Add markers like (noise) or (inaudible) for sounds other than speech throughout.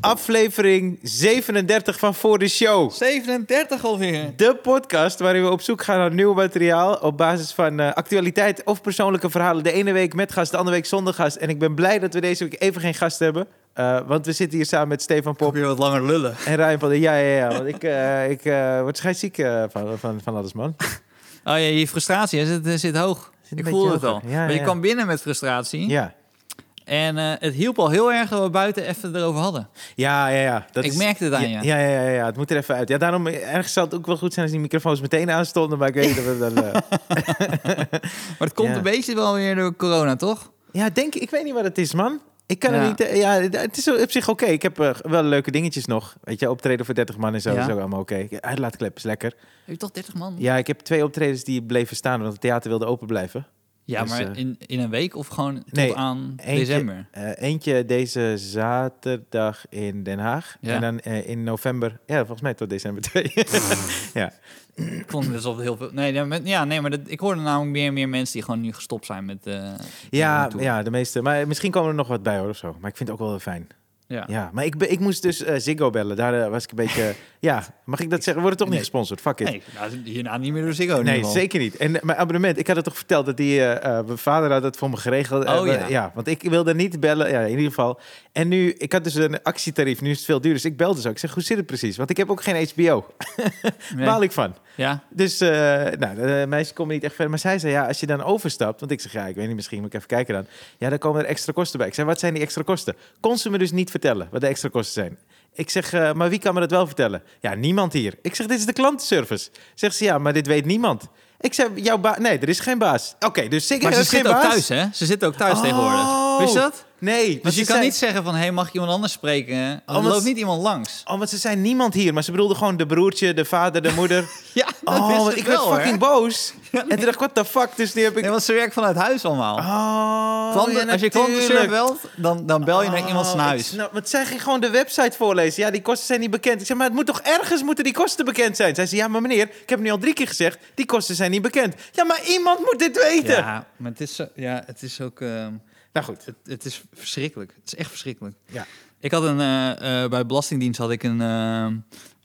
aflevering 37 van Voor de Show. 37 alweer. De podcast waarin we op zoek gaan naar nieuw materiaal op basis van eh, actualiteit of persoonlijke verhalen. De ene week met gast, de andere week zonder gast. En ik ben blij dat we deze week even geen gast hebben. eh, want we zitten hier samen met Stefan Pop Probeer wat langer lullen. en Ryan van der... Ja, ja, ja. Want ik, eh, ik eh, word scheidsziek eh, van, van, van alles, man. Oh ja, je frustratie hè, zit, eh, zit hoog. Zit een ik beetje voel het hoog, al. ja, maar je ja. kwam binnen met frustratie. Ja, En eh, het hielp al heel erg dat we buiten even erover hadden. ja, ja. ja. Dat ik is- merkte het aan je. Ja, ja, ja, ja, ja, het moet er even uit. Ja, daarom eh, ergens zou het ook wel goed zijn als die microfoons meteen aanstonden, maar ik weet niet of we dan. eh, Maar het komt Ja. een beetje wel weer door corona, toch? Ja, denk ik weet niet wat het is, man. Ik kan er Ja. niet. eh, Ja, het is op zich oké. Ik heb eh, wel leuke dingetjes nog. Weet je, optreden voor 30 man en zo. Ja. Dat is ook allemaal oké. Uitlaatklep is lekker. Heb je toch 30 man? Ja, ik heb twee optredens die bleven staan, want het theater wilde open blijven. Ja, Dus, maar eh, in, in een week of gewoon tot nee, aan eentje- december? Eh, eentje deze zaterdag in Den Haag. Ja. En dan eh, in november. Ja, volgens mij tot december (laughs) 2. ja. Ik vond het alsof er heel veel... Nee, ja, met- ja, nee maar dat, ik hoorde namelijk meer en meer mensen die gewoon nu gestopt zijn met... eh, met Ja, hun tour. ja, de meeste. Maar eh, misschien komen er nog wat bij hoor of zo. Maar ik vind het ook wel fijn. ja. Ja, maar ik, be- ik moest dus eh, Ziggo bellen. Daar eh, was ik een (laughs) beetje... ja, mag ik dat zeggen? We worden toch niet Nee. gesponsord? Fuck it. Nee, nou, hierna niet meer door Ziggo in Nee, ieder geval. zeker niet. En eh, mijn abonnement, ik had het toch verteld dat die, eh, eh, mijn vader had het voor me geregeld. Oh, Eh, ja. want ik wilde niet bellen, ja, in ieder geval. En nu, ik had dus een actietarief, nu is het veel duurder. Dus ik belde zo. Ik zeg, hoe zit het precies? Want ik heb ook geen HBO. Nee. Baal ik van. Ja, Dus, eh, nou, de meisje kon me niet echt verder. Maar zij zei, ja, als je dan overstapt... Want ik zeg, ja, ik weet niet, misschien moet ik even kijken dan. Ja, dan komen er extra kosten bij. Ik zei, wat zijn die extra kosten? Kon ze me dus niet vertellen wat de extra kosten zijn. Ik zeg, eh, maar wie kan me dat wel vertellen? Ja, niemand hier. Ik zeg, dit is de klantenservice. Zegt ze, ja, maar dit weet niemand. Ik zeg, jouw baas... Nee, er is geen baas. Oké, dus zeker maar er ze is geen zitten ook baas. thuis, hè? Ze zitten ook thuis Oh. tegenwoordig. Wist je dat? Nee. want Dus ze je kan zei- niet zeggen van, hé, hey, mag ik iemand anders spreken? Er want- loopt niet iemand langs. Oh, want ze zijn niemand hier. Maar ze bedoelde gewoon de broertje, de vader, de moeder. Ja, (laughs) dat oh, is want het ik wel, werd hoor. fucking boos. En toen dacht ik, what the fuck? Dus nu heb ik... Nee, want ze werken vanuit huis allemaal. Oh, Klanten- ja, als je klantenservice natuurlijk. belt, dan, dan bel je naar Oh, iemand zijn ik huis. snap- want zij ging gewoon de website voorlezen. Ja, die kosten zijn niet bekend. Ik zeg, maar het moet toch ergens moeten die kosten bekend zijn? Zij zei, ja, maar meneer, ik heb nu al drie keer gezegd, die kosten zijn niet bekend. Ja, maar iemand moet dit weten. Ja, maar het is, zo- ja, het is ook... ehm, Nou goed. het, het is verschrikkelijk. Het is echt verschrikkelijk. Ja. Ik had een, eh, eh, bij Belastingdienst had ik een, ehm,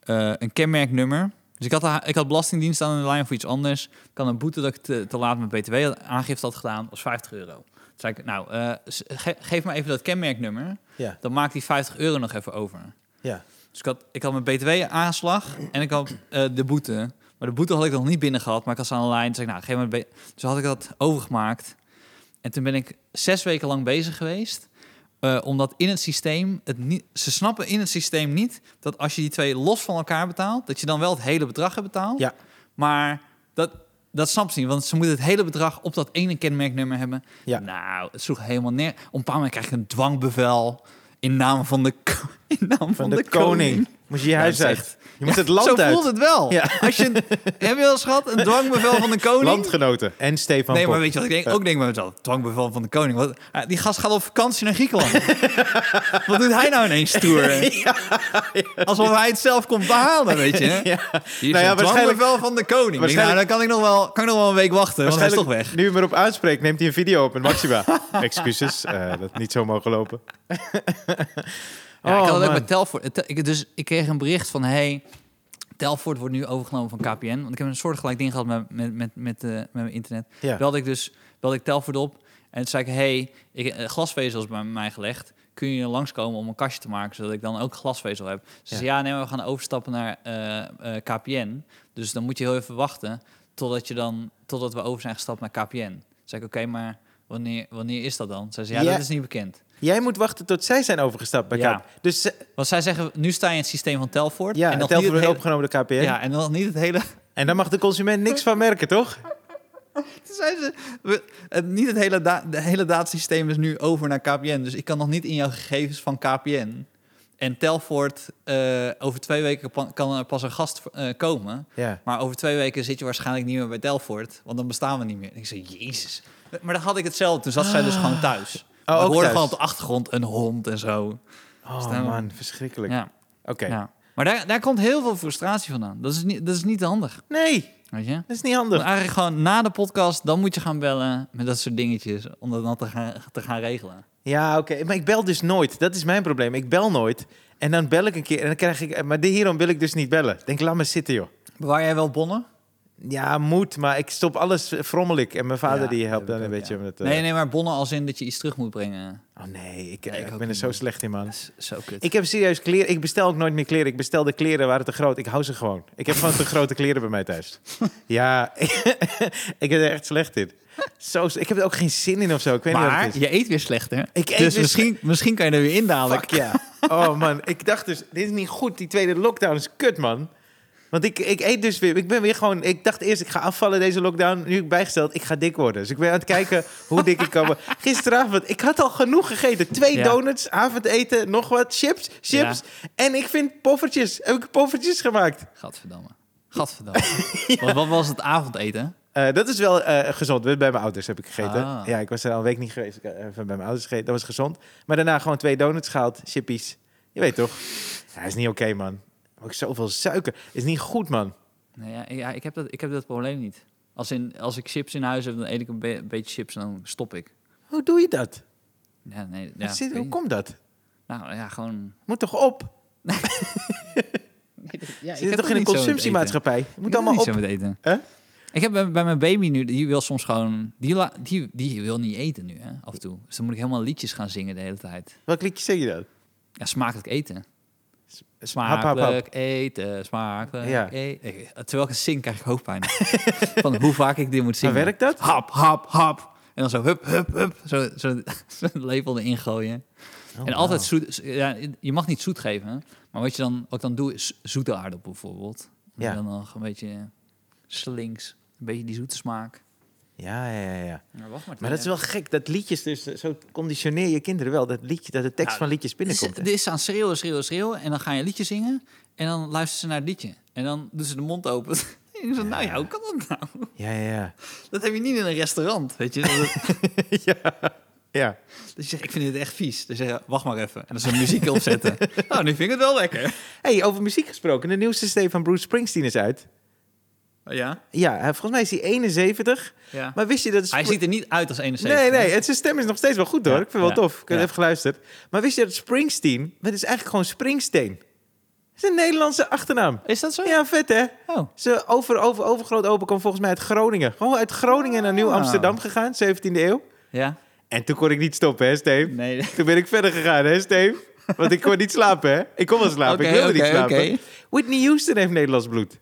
eh, een kenmerknummer. Dus ik had, de- ik had Belastingdienst aan de lijn voor iets anders. Ik had een boete dat ik te, te laat met BTW had- aangifte had gedaan, was 50 euro. Toen zei ik, nou, eh, s- ge- geef me even dat kenmerknummer. Ja, Dan maak ik die 50 euro nog even over. ja. Dus ik had, ik had mijn BTW-aanslag en ik had eh, de boete. Maar de boete had ik nog niet binnen gehad, maar ik had ze aan de lijn. Toen zei ik, nou, geef me de B- Dus had ik dat overgemaakt. En toen ben ik zes weken lang bezig geweest. eh, omdat in het systeem, het niet, ze snappen in het systeem niet dat als je die twee los van elkaar betaalt, dat je dan wel het hele bedrag hebt betaald. Ja. Maar dat, dat snapt ze niet, want ze moeten het hele bedrag op dat ene kenmerknummer hebben. Ja. Nou, het sloeg helemaal neer. Op een bepaald moment krijg ik een dwangbevel in naam van de, ko- (laughs) in naam van Van, de, koning. Moest je je Ja, huis dat is uit. Je moet het land Zo uit. voelt het wel. Ja. Als je, (laughs) heb je wel eens gehad een dwangbevel van de koning? Landgenoten. En Stefan nee, Pop. maar weet je wat ik denk? ook denk bij mezelf? Dwangbevel van de koning. Wat, ah, die gast gaat op vakantie naar (laughs) Griekenland. wat doet hij nou ineens stoer? Alsof hij het zelf komt behalen, weet je? Hier (laughs) is ja, een waarschijnlijk- dwangbevel van de koning. Ik denk, waarschijnlijk- nou, dan kan ik nog wel, kan ik nog wel een week wachten, want hij is toch Waarschijnlijk weg. Nu hem erop aanspreekt, neemt hij een video op met (laughs) Maxima. Excuses, eh, dat het niet zo mogen lopen. Oh, Ja, ik had het ook man. bij Telfort. Het- ik- Dus ik kreeg een bericht van... Hey, Telfort wordt nu overgenomen van KPN. Want ik heb een soortgelijk ding gehad met, met, met, met, eh, met mijn internet. Ja. Belde ik dus belde ik Telfort op. En toen zei ik... Hey, ik, eh, glasvezel is bij mij gelegd. Kun je langskomen om een kastje te maken... zodat ik dan ook glasvezel heb? Ze zei, ja, nee, maar we gaan overstappen naar eh, eh, KPN. Dus dan moet je heel even wachten... totdat, je dan, totdat we over zijn gestapt naar KPN. Toen zei ik, oké, maar wanneer, wanneer is dat dan? Zei ze, ja, Ja. dat is niet bekend. Jij moet wachten tot zij zijn overgestapt bij Ja. KPN. Dus ze- Want zij zeggen, nu sta je in het systeem van Telfort. ja, en en nog Telfort niet wordt het hele, opgenomen door KPN. ja, en nog niet het hele... (laughs) En daar mag de consument niks van merken, toch? Toen zeiden ze, we- het, niet het hele, da, de hele datasysteem is nu over naar KPN. Dus ik kan nog niet in jouw gegevens van KPN. En Telfort, eh, over twee weken pa- kan er pas een gast eh, komen. Ja. Maar over twee weken zit je waarschijnlijk niet meer bij Telfort. Want dan bestaan we niet meer. En ik zei, jezus. Maar dan had ik hetzelfde. Toen zat zij dus gewoon (gasps) thuis. Maar Oh, ook ik hoorde thuis. gewoon op de achtergrond een hond en zo. Oh Staan we- man, verschrikkelijk. Ja, Oké. ja. Maar daar, daar komt heel veel frustratie vandaan. Dat is niet, dat is niet handig. Nee, Weet je? dat is niet Want handig. eigenlijk gewoon na de podcast, dan moet je gaan bellen met dat soort dingetjes. Om dat dan te gaan, te gaan regelen. Ja, oké. Maar ik bel dus nooit. Dat is mijn probleem. Ik bel nooit. En dan bel ik een keer en dan krijg ik... Maar hierom wil ik dus niet bellen. Denk, laat me zitten, joh. Bewaar jij wel bonnen? Ja, moet, maar ik stop alles vrommelijk. En mijn vader Ja, die helpt dat dan heb een ik ook, beetje ja. met... eh, Nee, nee, maar bonnen als in dat je iets terug moet brengen. Oh nee, ik, Nee, ik ik ook ben er niet, zo man. slecht in, man. Dat is zo kut. Ik heb serieus kleren. Ik bestel ook nooit meer kleren. Ik bestel de kleren waren te groot. Ik hou ze gewoon. Ik heb gewoon te grote kleren bij mij thuis. Ja, (laughs) ik ben er echt slecht in. Zo, ik heb er ook geen zin in of zo. Ik weet niet wat maar het is. je eet weer slecht, hè? eet weer dus slecht. misschien, misschien kan je er weer in dadelijk. Fuck ja. Oh man, ik dacht dus, dit is niet goed. Die tweede lockdown is kut, man. Want ik, ik eet dus weer. Ik ben weer gewoon. Ik dacht eerst, ik ga afvallen deze lockdown. Nu heb ik bijgesteld, ik ga dik worden. Dus ik ben aan het kijken hoe dik ik kan worden. Gisteravond, ik had al genoeg gegeten. Twee Ja. donuts, avondeten, nog wat chips, chips. En ik vind poffertjes. Heb ik poffertjes gemaakt? Gadverdamme. Gadverdamme. Want wat was het avondeten? Eh, dat is wel eh, gezond. Bij mijn ouders heb ik gegeten. Ah. Ja, ik was er al een week niet geweest. Ik heb even bij mijn ouders gegeten. Dat was gezond. Maar daarna gewoon twee donuts gehaald. Chippies. Je weet toch? Ja, is niet oké, man. Ook zoveel suiker. Is niet goed, man. Nee, ja, ja, ik, heb dat, ik heb dat probleem niet. Als, in, als ik chips in huis heb, dan eet ik een be- beetje chips en dan stop ik. Hoe doe je dat? Ja, nee, ja, Wat zit- weet hoe je. komt dat? Nou ja, gewoon... Moet toch op? (laughs) Ja, Zit toch in een consumptiemaatschappij? Moet allemaal op. niet zo met eten. Hè? Ik heb bij, bij mijn baby nu, die wil soms gewoon... Die, la- die, die wil niet eten nu, hè, af en toe. Dus dan moet ik helemaal liedjes gaan zingen de hele tijd. Welk liedje zing je dan? Ja, smakelijk eten. hap, hap. Smakelijk eten, smakelijk Ja. eten. Ik- Terwijl ik het zing, krijg ik hoofdpijn. (laughs) van hoe vaak ik dit moet Maar zingen. werkt dat? Hap, hap, hap. En dan zo hup, hup, hup. Zo, zo, (laughs) zo'n lepel erin gooien. Oh, en altijd zoet. Ja, je mag niet zoet geven. hè. Maar wat je dan ook dan doet, is zoete aardappel bijvoorbeeld. Ja. Ja. En dan nog een beetje slinks. Een beetje die zoete smaak. Ja, ja, ja, ja. Maar wacht Maar dat is wel gek. Dat liedjes dus... Zo conditioneer je kinderen wel. Dat, liedje, dat de tekst Nou, van liedjes binnenkomt. hè? Er is aan schreeuwen, schreeuwen, schreeuwen. En dan ga je een liedje zingen. En dan luisteren ze naar het liedje. En dan doen ze de mond open. (laughs) En ik zeg, nou ja, hoe kan dat nou? Ja, ja, ja. (laughs) Dat heb je niet in een restaurant, weet je. Dat, (laughs) Ja. dat je zegt, ik vind dit echt vies. Dan zeg je, wacht maar even. En dan ze (laughs) muziek opzetten. nou, nu vind ik het wel lekker. Hey, over muziek gesproken. De nieuwste CD van Bruce Springsteen is uit. Oh, Ja, Ja, hij- volgens mij is hij 71. ja. Maar wist je dat... hij Spr- ziet er niet uit als 71. Nee, nee, het, zijn stem is nog steeds wel goed hoor. Ja, Ik vind het wel ja, tof. Ik heb ja. even geluisterd. Maar wist je dat Springsteen... maar Het is eigenlijk gewoon Springsteen. Het is een Nederlandse achternaam. Is dat zo? Ja, vet hè? Oh. Ze over, over, overgroot open kwam volgens mij uit Groningen. Gewoon uit Groningen naar Ah. Nieuw-Amsterdam gegaan, 17e eeuw. Ja. En toen kon ik niet stoppen hè, Steve? Nee. Oké, Toen ben ik verder gegaan hè, Steve? Want ik kon niet slapen hè? Ik kon wel slapen, ik wilde niet slapen. Whitney Houston heeft Nederlands bloed. (laughs)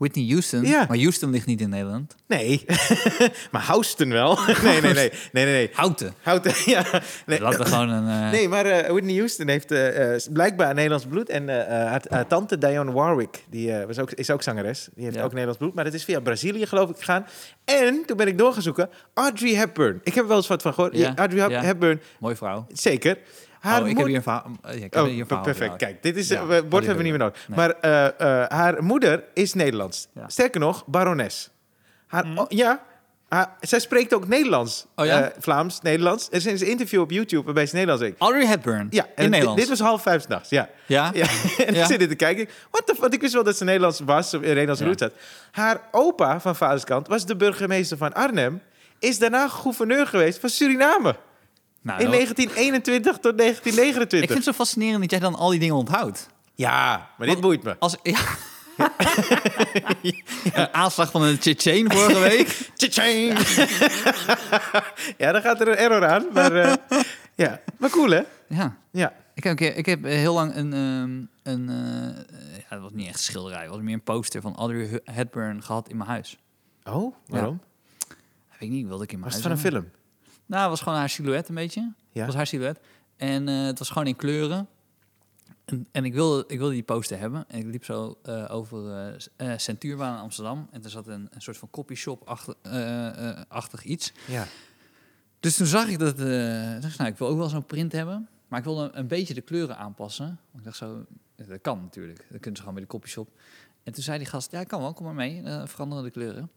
Whitney Houston. Ja. Maar Houston ligt niet in Nederland. Nee, (laughs) maar Houston wel. (laughs) nee, nee, nee, nee, nee, nee. Houten. Houd, (laughs) ja. Nee. Laten we gewoon een... eh, Nee, maar eh, Whitney Houston heeft eh, eh, blijkbaar Nederlands bloed. En eh, eh, haar, haar tante Dionne Warwick, die eh, was ook, is ook zangeres. Die heeft Ja. ook Nederlands bloed. Maar dat is via Brazilië, geloof ik, gegaan. En toen ben ik doorgaan zoeken. Audrey Hepburn. Ik heb er wel eens wat van gehoord. Ja, eh, Audrey Hep- ja. Hepburn, Mooie vrouw. zeker. Oh, Haar ik heb moed- hier een verhaal. eh, ja, ik heb Oh, hier per- een verhaal perfect. ja. Kijk, dit is, Ja, eh, die bord hebben wil we niet ik. meer nodig. Nee. Maar eh, eh, haar moeder is Nederlands. Ja. Mhm. Sterker nog, barones. Haar, oh, ja, haar- zij spreekt ook Nederlands. Oh ja? Eh, Vlaams, Nederlands. Er is een interview op YouTube waarbij ze Nederlands zegt. Audrey Hepburn. Ja, en in dit- Nederland. Dit was half vijf s'nachts, ja. (laughs) Ja? Nou, ja. (laughs) en Ja. ik zit dit te kijken. What the fuck? Ik wist wel dat ze Nederlands was, of in Nederlands Ja. roet had. Haar opa van vaders kant was de burgemeester van Arnhem. Is daarna gouverneur geweest van Suriname. Nou, In dan- 1921 tot ik 1929. vind het zo fascinerend dat jij dan al die dingen onthoudt. Ja, maar Want- dit boeit me. Als, ja. (laughs) Een aanslag van een Chechen vorige (laughs) week. ja, dan gaat er een error aan. Maar, (laughs) eh, ja. maar cool, hè? Ja. Ja. Ik heb, een keer- ik heb eh, heel lang een... ehm, een eh, ja, dat was niet echt een schilderij. Het was meer een poster van Audrey Hu- Hepburn gehad in mijn huis. Oh, waarom? Ik weet niet, wilde ik in mijn Was het huis van een hebben. film? Nou, het was gewoon haar silhouet een beetje. Het was haar silhouet. En eh, het was gewoon in kleuren. En, en ik, wilde, ik wilde die poster hebben. En ik liep zo eh, over eh, s- eh Centuurbaan in Amsterdam. En er zat een, een soort van eh, copyshop-achtig iets. Ja. Dus toen zag ik dat... eh, ik dacht, nou, ik wil ook wel zo'n print hebben. Maar ik wilde een beetje de kleuren aanpassen. Want ik dacht zo, dat kan natuurlijk. Dat kunnen ze gewoon bij de copyshop. En toen zei die gast, ja, kan wel, kom maar mee. eh veranderen de kleuren.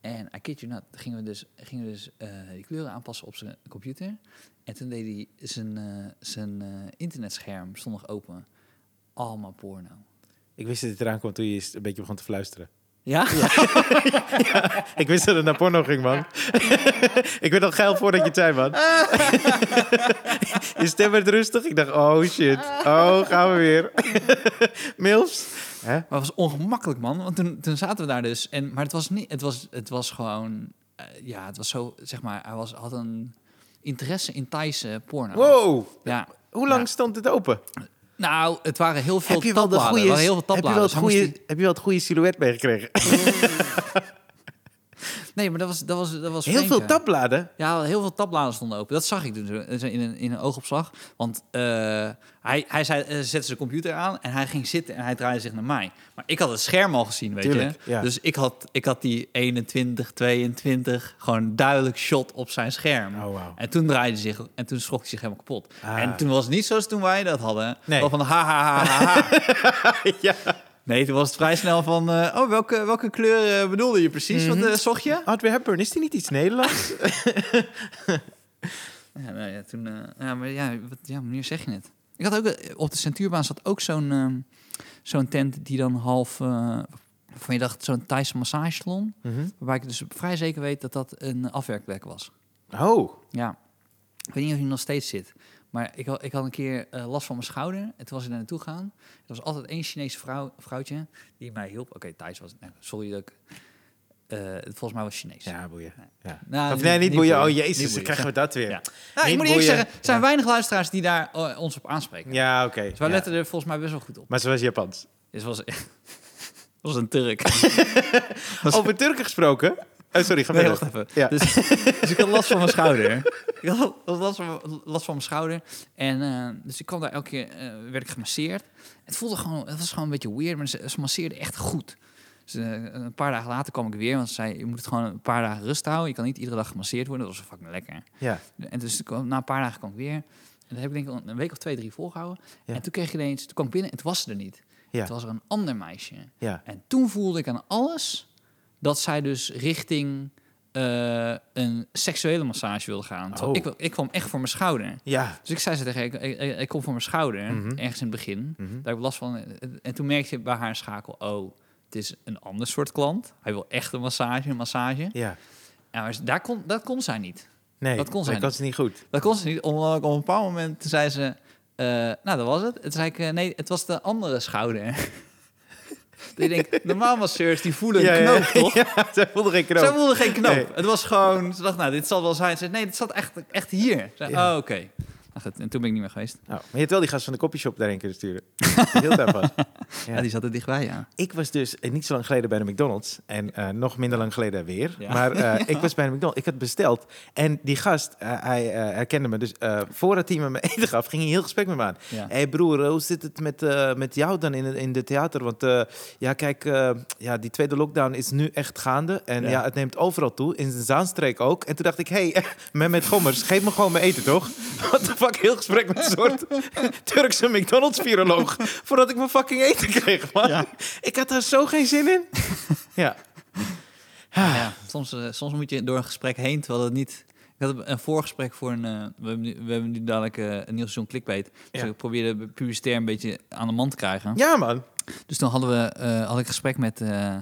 En I kid you not, gingen we dus, gingen we dus eh, die kleuren aanpassen op zijn computer. En toen deed hij zijn, eh, zijn eh, internetscherm, stond nog open. Allemaal porno. Ik wist dat het eraan kwam toen je een beetje begon te fluisteren. Ja? Ik wist dat het naar porno ging, (laughs) man. ik werd al geil voordat je het zei, (laughs) man. je stem werd rustig. Ik dacht, oh shit. Oh, gaan we (laughs) weer. Milfs. Hè? Maar het was ongemakkelijk, man. Want toen, toen zaten we daar dus. En, maar het was niet. Het was, het was gewoon. eh, ja, het was zo. Zeg maar, hij was, had een interesse in Thaise porno. Wow. Ja. Hoe lang Ja. stond het open? Nou, het waren heel veel Heb je wel de tabbladen. Er goede, waren heel veel heb je wel het tabbladen. Dus hij moest goede, heb je wel het goede silhouet meegekregen? die- Nee, maar dat was. Dat was, dat was Heel vreemd, veel ja. tabbladen. Ja, heel veel tabbladen stonden open. Dat zag ik toen in een, in een oogopslag. Want eh, hij, hij zei, eh, zette zijn computer aan en hij ging zitten en hij draaide zich naar mij. Maar ik had het scherm al gezien, weet Tuurlijk, je. ja. Dus ik had, ik had die 21, 22 gewoon duidelijk shot op zijn scherm. Oh, wauw. En toen draaide hij zich en toen schrok hij zich helemaal kapot. Ah. En toen was het niet zoals toen wij dat hadden. Nee. Wel Van ha, ha, ha, (laughs) ha, ha. (laughs) ja. Nee, toen was het vrij snel van... eh, oh, welke, welke kleur eh, bedoelde je precies? Mhm. Wat eh, zocht je? Audrey Hepburn, is die niet iets Nederlands? (laughs) Ja, nou ja, toen, eh, ja, maar ja, wat, ja, wanneer zeg je het? Ik had ook, eh, op de centuurbaan zat ook zo'n ehm, zo'n tent die dan half, eh van je dacht, zo'n Thaise massagesalon. Mhm. Waarbij ik dus vrij zeker weet dat dat een afwerkplek was. Oh. Ja. Ik weet niet of hij nog steeds zit. Maar ik had, ik had een keer eh, last van mijn schouder. En toen was ik daar naartoe gegaan. Er was altijd één Chinese vrouw, vrouwtje die mij hielp. Oké, Thais was het. Nou, sorry dat ik... eh, het volgens mij was Chinees. Ja, boeien. Ja. Nou, of nee, niet boeien. Oh Niet jezus, dan boeien. krijgen we dat weer. Ja. Ja, Nou, ik Niet moet eerlijk boeien. zeggen, er zijn weinig luisteraars die daar eh, ons op aanspreken. oké. Dus wij Ja. letten er volgens mij best wel goed op. Maar ze was Japans. (laughs) Dit was, dit was een (laughs) Turk. Over Turken gesproken. Oh, sorry, ga Nee, verder. wacht even. Ja. Dus, dus ik had last van mijn (laughs) schouder. Ik had last van, last van mijn schouder. En eh, dus ik kwam daar elke keer, eh, werd ik gemasseerd. Het voelde gewoon, het was gewoon een beetje weird, maar ze, ze masseerde echt goed. Dus, eh, een paar dagen later kwam ik weer, want ze zei, je moet het gewoon een paar dagen rust houden. Je kan niet iedere dag gemasseerd worden, dat was fucking lekker. Ja. En dus ik kwam- na een paar dagen kwam ik weer. En dat heb ik denk ik al een week of twee, drie volgehouden. Ja. En toen kreeg ik ineens, toen kwam ik binnen en het was ze er niet. Ja. Het was er een ander meisje. Ja. En toen voelde ik aan alles dat zij dus richting eh, een seksuele massage wilde gaan. Terwijl Oh. Ik, ik kwam echt voor mijn schouder. Ja. Dus ik zei ze tegen haar, ik, ik, ik kom voor mijn schouder, Mhm. ergens in het begin. Mhm. Daar heb ik last van. En toen merkte je bij haar schakel, oh, het is een ander soort klant. Hij wil echt een massage, een massage. Ja. Ja, maar daar kon, dat kon zij niet. Nee, Dat kon zijn. Dat ze niet goed. Dat kon ze niet, omdat ik op een bepaald moment toen zei ze... eh, nou, dat was het. En Toen zei ik, eh, nee, het was de andere schouder. (laughs) dat je denkt, normaal masseurs, die voelen (laughs) een knoop, toch? Ja, zij voelde geen knoop. Zij voelde geen knoop. Nee. Het was gewoon... Ze dacht, nou, dit zal wel zijn. Ze zei, nee, dit zat echt, echt hier. Ze zei, Ja. oh, oké. Nou goed, en toen ben ik niet meer geweest. Oh, maar je hebt wel die gast van de koffieshop daarheen kunnen (laughs) sturen. Die hield daarvan. Ja, Ja. die zat er dichtbij, ja. Ik was dus eh, niet zo lang geleden bij de McDonald's. En eh, nog minder lang geleden weer. Ja. Maar eh, (laughs) ik was bij de McDonald's. Ik had besteld. En die gast, eh, hij eh, herkende me. Dus eh, voordat hij me (laughs) mijn eten gaf, ging hij een heel gesprek met me aan. ja. Hé hey broer, hoe zit het met, eh, met jou dan in het in de theater? Want eh, ja, kijk, eh, ja, die tweede lockdown is nu echt gaande. En Ja. ja, het neemt overal toe, in de Zaanstreek ook. En toen dacht ik, hé, hey, (laughs) Mehmet Gommers, geef me gewoon mijn eten, toch? (laughs) Wat de fuck, heel gesprek met een soort (laughs) Turkse McDonald's-viroloog. Voordat ik mijn fucking eten kreeg, man. Ja. Ik had daar zo geen zin (laughs) in. ja. Ja, soms, eh, soms moet je door een gesprek heen, terwijl het niet... Ik had een voorgesprek voor een... eh, we, hebben nu, we hebben nu dadelijk eh, een nieuw seizoen clickbait. Dus Ja. ik probeerde publicitair een beetje aan de man te krijgen. ja, man. Dus toen hadden we, eh, had ik een gesprek met, eh,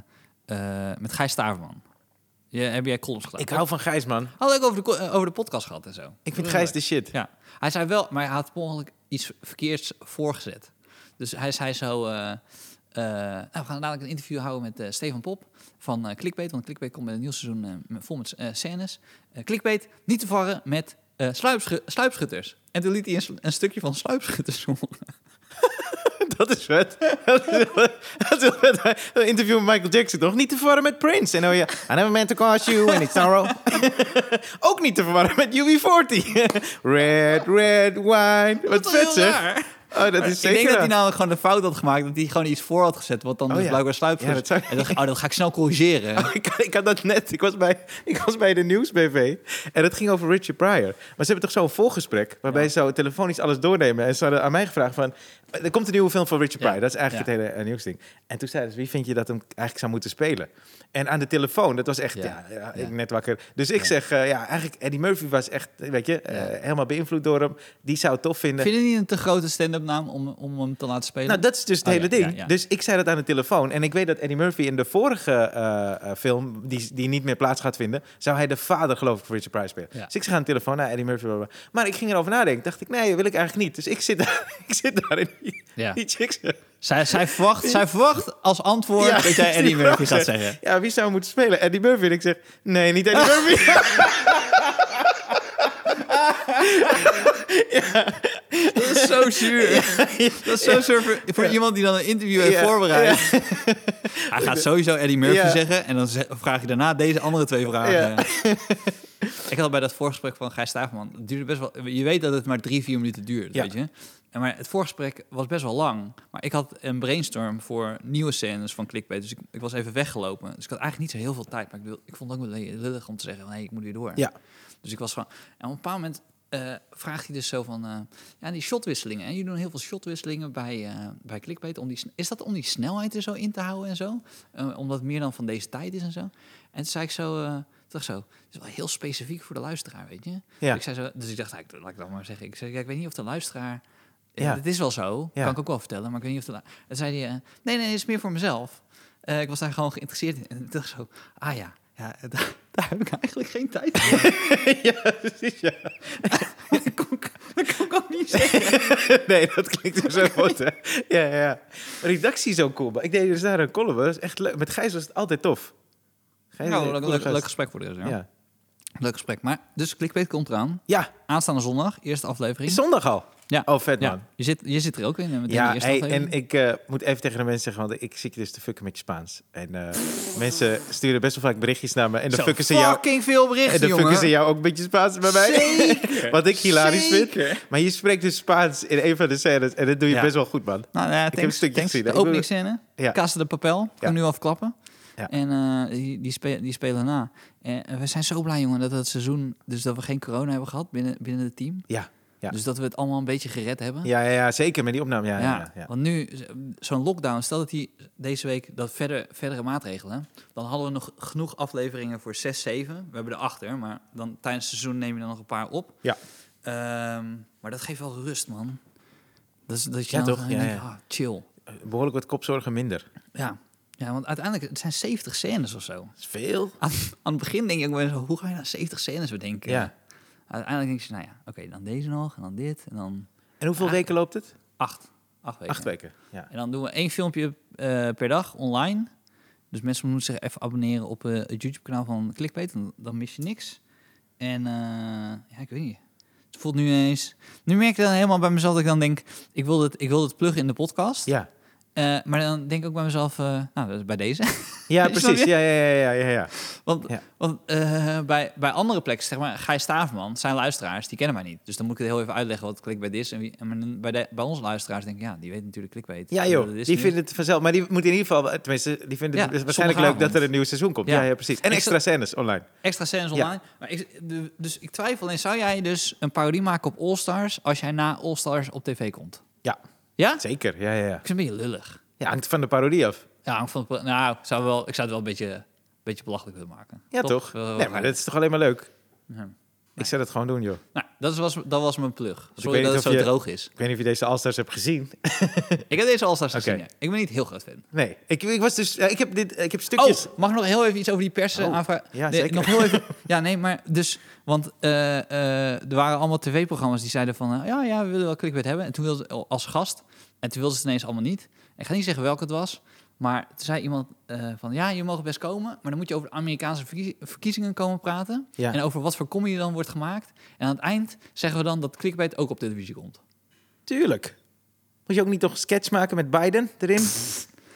eh, met Gijs Staverman. Je, heb jij columns gedaan? Ik hou van Gijs, man. Had ik over de, co- eh, over de podcast gehad en zo. Ik vind Gijs de shit. Ja, hij zei wel, maar hij had per ongeluk iets verkeerds voorgezet. Dus hij zei zo... eh, eh, nou, we gaan dadelijk een interview houden met eh, Stefan Pop van eh, Clickbait. Want Clickbait komt met een nieuw seizoen eh, met- vol met eh, scènes. Eh, Clickbait, niet te varren met eh, sluipschu- sluipschutters. En toen liet hij een, sl- een stukje van sluipschutters horen. (laughs) Dat is vet. Dat is dat is vet. Een interview met Michael Jackson, toch? Niet te verwarren met Prince. En dan je, I never meant to cause you any sorrow. (laughs) Ook niet te verwarren met UB40. (laughs) red, red wine. Wat Dat is vet, heel zeg. raar. Oh, dat is ik denk dat zeker... hij namelijk gewoon de fout had gemaakt. Dat hij gewoon iets voor had gezet. Wat dan Oh, dus ja. blijkbaar sluipt. Ja, dat zou- En dacht ik, oh, dat ga ik snel (laughs) corrigeren. Oh, ik, ik had dat net. Ik was, bij, ik was bij de nieuwsbv en het ging over Richard Pryor. Maar ze hebben toch zo'n volgesprek waarbij ze zo telefonisch alles doornemen. En ze hadden aan mij gevraagd van, er komt een nieuwe film van Richard Ja. Pryor. Dat is eigenlijk Ja. het hele eh, nieuwsding. En toen zeiden ze, wie vind je dat hem eigenlijk zou moeten spelen? En aan de telefoon, dat was echt, Ja. ja, ja, ik Ja. net wakker. Dus ik Ja. zeg, eh, ja, eigenlijk Eddie Murphy was echt, weet je, eh, Ja. helemaal beïnvloed door hem. Die zou het tof vinden. Vind je niet een te grote stand-up bandnaam om, om hem te laten spelen? Nou, dat is dus het Oh, hele ja, ding. ja, ja. Dus ik zei dat aan de telefoon. En ik weet dat Eddie Murphy in de vorige eh, eh, film, die, die niet meer plaats gaat vinden, zou hij de vader, geloof ik, van Richard Price spelen. Ja. Dus ik zeg aan de telefoon, nou, Eddie Murphy. bla, bla, bla. Maar ik ging erover nadenken. Dacht ik, nee, wil ik eigenlijk niet. Dus ik zit daar, (laughs) ik zit daar in die, ja. die chicks. zij, zij, verwacht, zij verwacht als antwoord Ja, (laughs) dat jij die Eddie Murphy vraag, gaat zeg. zeggen. Ja, wie zou moeten spelen? Eddie Murphy. En ik zeg, nee, niet (laughs) Eddie Murphy. Dat is zo (laughs) zuur. Dat is zo zuur voor, voor iemand die dan een interview heeft Ja. voorbereid. (laughs) Hij gaat sowieso Eddie Murphy Ja. zeggen en dan ze- vraag je daarna deze andere twee vragen. Ja. (laughs) Ik had bij dat voorgesprek van Gijs Staverman, het duurde best wel, je weet dat het maar drie, vier minuten duurt, Ja. weet je. En maar het voorgesprek was best wel lang. Maar ik had een brainstorm voor nieuwe scènes van Clickbait, dus ik, ik was even weggelopen. Dus ik had eigenlijk niet zo heel veel tijd, maar ik, wil, ik vond het ook wel lullig om te zeggen, van, hey, ik moet weer door. Ja. Dus ik was van, en op een bepaald moment eh, vraagt hij dus zo van, eh, ja, die shotwisselingen. En jullie doen heel veel shotwisselingen bij, eh, bij clickbait. Om die, sn- is dat om die snelheid er zo in te houden en zo? Eh, omdat het meer dan van deze tijd is en zo? En toen zei ik zo, eh toch zo, het is wel heel specifiek voor de luisteraar, weet je? Dus ik zei zo, dus ik dacht, nou, ik- laat ik dat maar zeggen. Ik zei, ja, ik weet niet of de luisteraar... Ja. Ja. Het is wel zo, Ja. kan ik ook wel vertellen, maar ik weet niet of de... lu- En zei hij, eh, nee, nee, het is meer voor mezelf. Eh, ik was daar gewoon geïnteresseerd in. En ik dacht zo, ah ja, ja (laughs) daar, daar heb ik eigenlijk geen tijd voor. ja, (laughs) precies, ja. (laughs) dat, kon ik, dat kon ik ook niet zeggen. (laughs) Nee, dat klinkt dus zo goed, hè? Ja, ja, ja. Redactie is ook cool. maar Ik deed dus daar een column. Dat is echt leuk. Met Gijs was het altijd tof. Gijs is Nou, een leuk, coole leuk, gast. leuk gesprek voor de rest. Ja. Ja. Leuk gesprek. Maar, dus Clickbait komt eraan. ja, Aanstaande zondag, eerste aflevering. is zondag al. Ja. Oh, vet man. ja, je, zit, je zit er ook in. hè, Meteen de Ja, eerste hey, aflevering. en ik eh, moet even tegen de mensen zeggen, want ik zit je dus te fucken met je Spaans. En eh, mensen sturen best wel vaak berichtjes naar me. En dan Zo fucken ze jou. fucking veel En berichten, dan fucken jongen. ze jou ook een beetje Spaans bij mij. (laughs) Zeker, Wat ik hilarisch zeker. vind. Maar je spreekt dus Spaans in een van de scènes. En dat doe je Ja. best wel goed, man. Nou, nou ja, thanks, heb een stukje thanks. gezien, hè. De Ik ben- openingsscène, Ja. Casa de Papel, kan Ja. nu afklappen. Ja. En eh, die, die, spe- die spelen na. En eh, we zijn zo blij, jongen, dat het seizoen... Dus dat we geen corona hebben gehad binnen, binnen het team. Ja, ja. Dus dat we het allemaal een beetje gered hebben. ja, ja, ja zeker met die opname. Ja, Ja, ja, ja. want nu, zo'n lockdown, stel dat die deze week dat verder, verdere maatregelen, dan hadden we nog genoeg afleveringen voor 6, 7. We hebben er achter, maar dan tijdens het seizoen neem je er nog een paar op. Ja. Ehm, maar dat geeft wel rust, man. Dat, is, dat je Ja, dan toch? gewoon Ja, denkt, ja. ah, chill. Behoorlijk wat kopzorgen minder. Ja. ja, want uiteindelijk, het zijn 70 scènes of zo. Dat is veel. Aan, aan het begin denk ik wel zo, hoe ga je nou 70 scènes bedenken? Ja. Uiteindelijk denk je, nou ja, oké, dan deze nog, en dan dit, en dan En hoeveel Ja. weken loopt het? acht. Acht weken. Acht weken. Ja. En dan doen we één filmpje eh, per dag online. Dus mensen moeten zich even abonneren op eh, het YouTube-kanaal van Clickbait. Dan, dan mis je niks. En eh, ja, ik weet niet. Het voelt nu eens... Nu merk ik dan helemaal bij mezelf dat ik dan denk... Ik wil het, ik wil het pluggen in de podcast. Ja, Eh, maar dan denk ik ook bij mezelf... eh, nou, dat is bij deze. (laughs) ja Snap precies. je? Ja, ja, ja, ja, ja, ja. Want, Ja. want eh, bij, bij andere plekken, zeg maar, Gijs Staverman, zijn luisteraars, die kennen mij niet. Dus dan moet ik het heel even uitleggen wat clickbait is. En, wie, en bij, de, bij onze luisteraars denk ik, ja, die weten natuurlijk clickbait. Ja, Dat joh. is Die nu. vinden het vanzelf. Maar die moet in ieder geval, tenminste, die vinden het Ja, waarschijnlijk leuk zondagavond. dat er een nieuw seizoen komt. Ja, Ja. ja, precies. En Ik extra scènes online. extra scènes Ja. online. Maar ik, de- dus ik twijfel in, zou jij dus een parodie maken op All Stars als jij na All Stars op tv komt? Ja, Ja? zeker. Ja, ja, ja. Ik vind het een beetje lullig. ja hangt van de parodie af. Ja, ik vond het, nou, ik zou, wel, ik zou het wel een beetje, beetje belachelijk willen maken. Ja, toch? Wel- wel nee, maar dat is toch alleen maar leuk? Ja. Ik zou dat gewoon doen, joh. Nou, dat was, dat was mijn plug. Sorry Dus weet dat niet het of zo je- droog is. Ik weet niet of je deze Allstars hebt gezien. (laughs) Ik heb deze All Stars Oké. gezien. ja. Ik ben niet heel groot fan. Nee, ik, ik was dus... ja, ik, heb dit, ik heb Oh, stukjes... mag ik nog heel even iets over die persen Oh, aanvragen? ja, Nee, zeker. nog heel (laughs) even. Ja, nee, maar dus, want eh, eh, er waren allemaal tv-programma's die zeiden van, eh, ja, ja, we willen wel clickbait hebben. En toen wilde ze als gast, en toen wilden ze het ineens allemaal niet. Ik ga niet zeggen welke het was, maar toen zei iemand eh, van, ja, je mag best komen, maar dan moet je over de Amerikaanse verkie- verkiezingen komen praten. Ja. En over wat voor comedy dan wordt gemaakt. En aan het eind zeggen we dan dat clickbait ook op televisie komt. Tuurlijk. Moet je ook niet toch een sketch maken met Biden erin?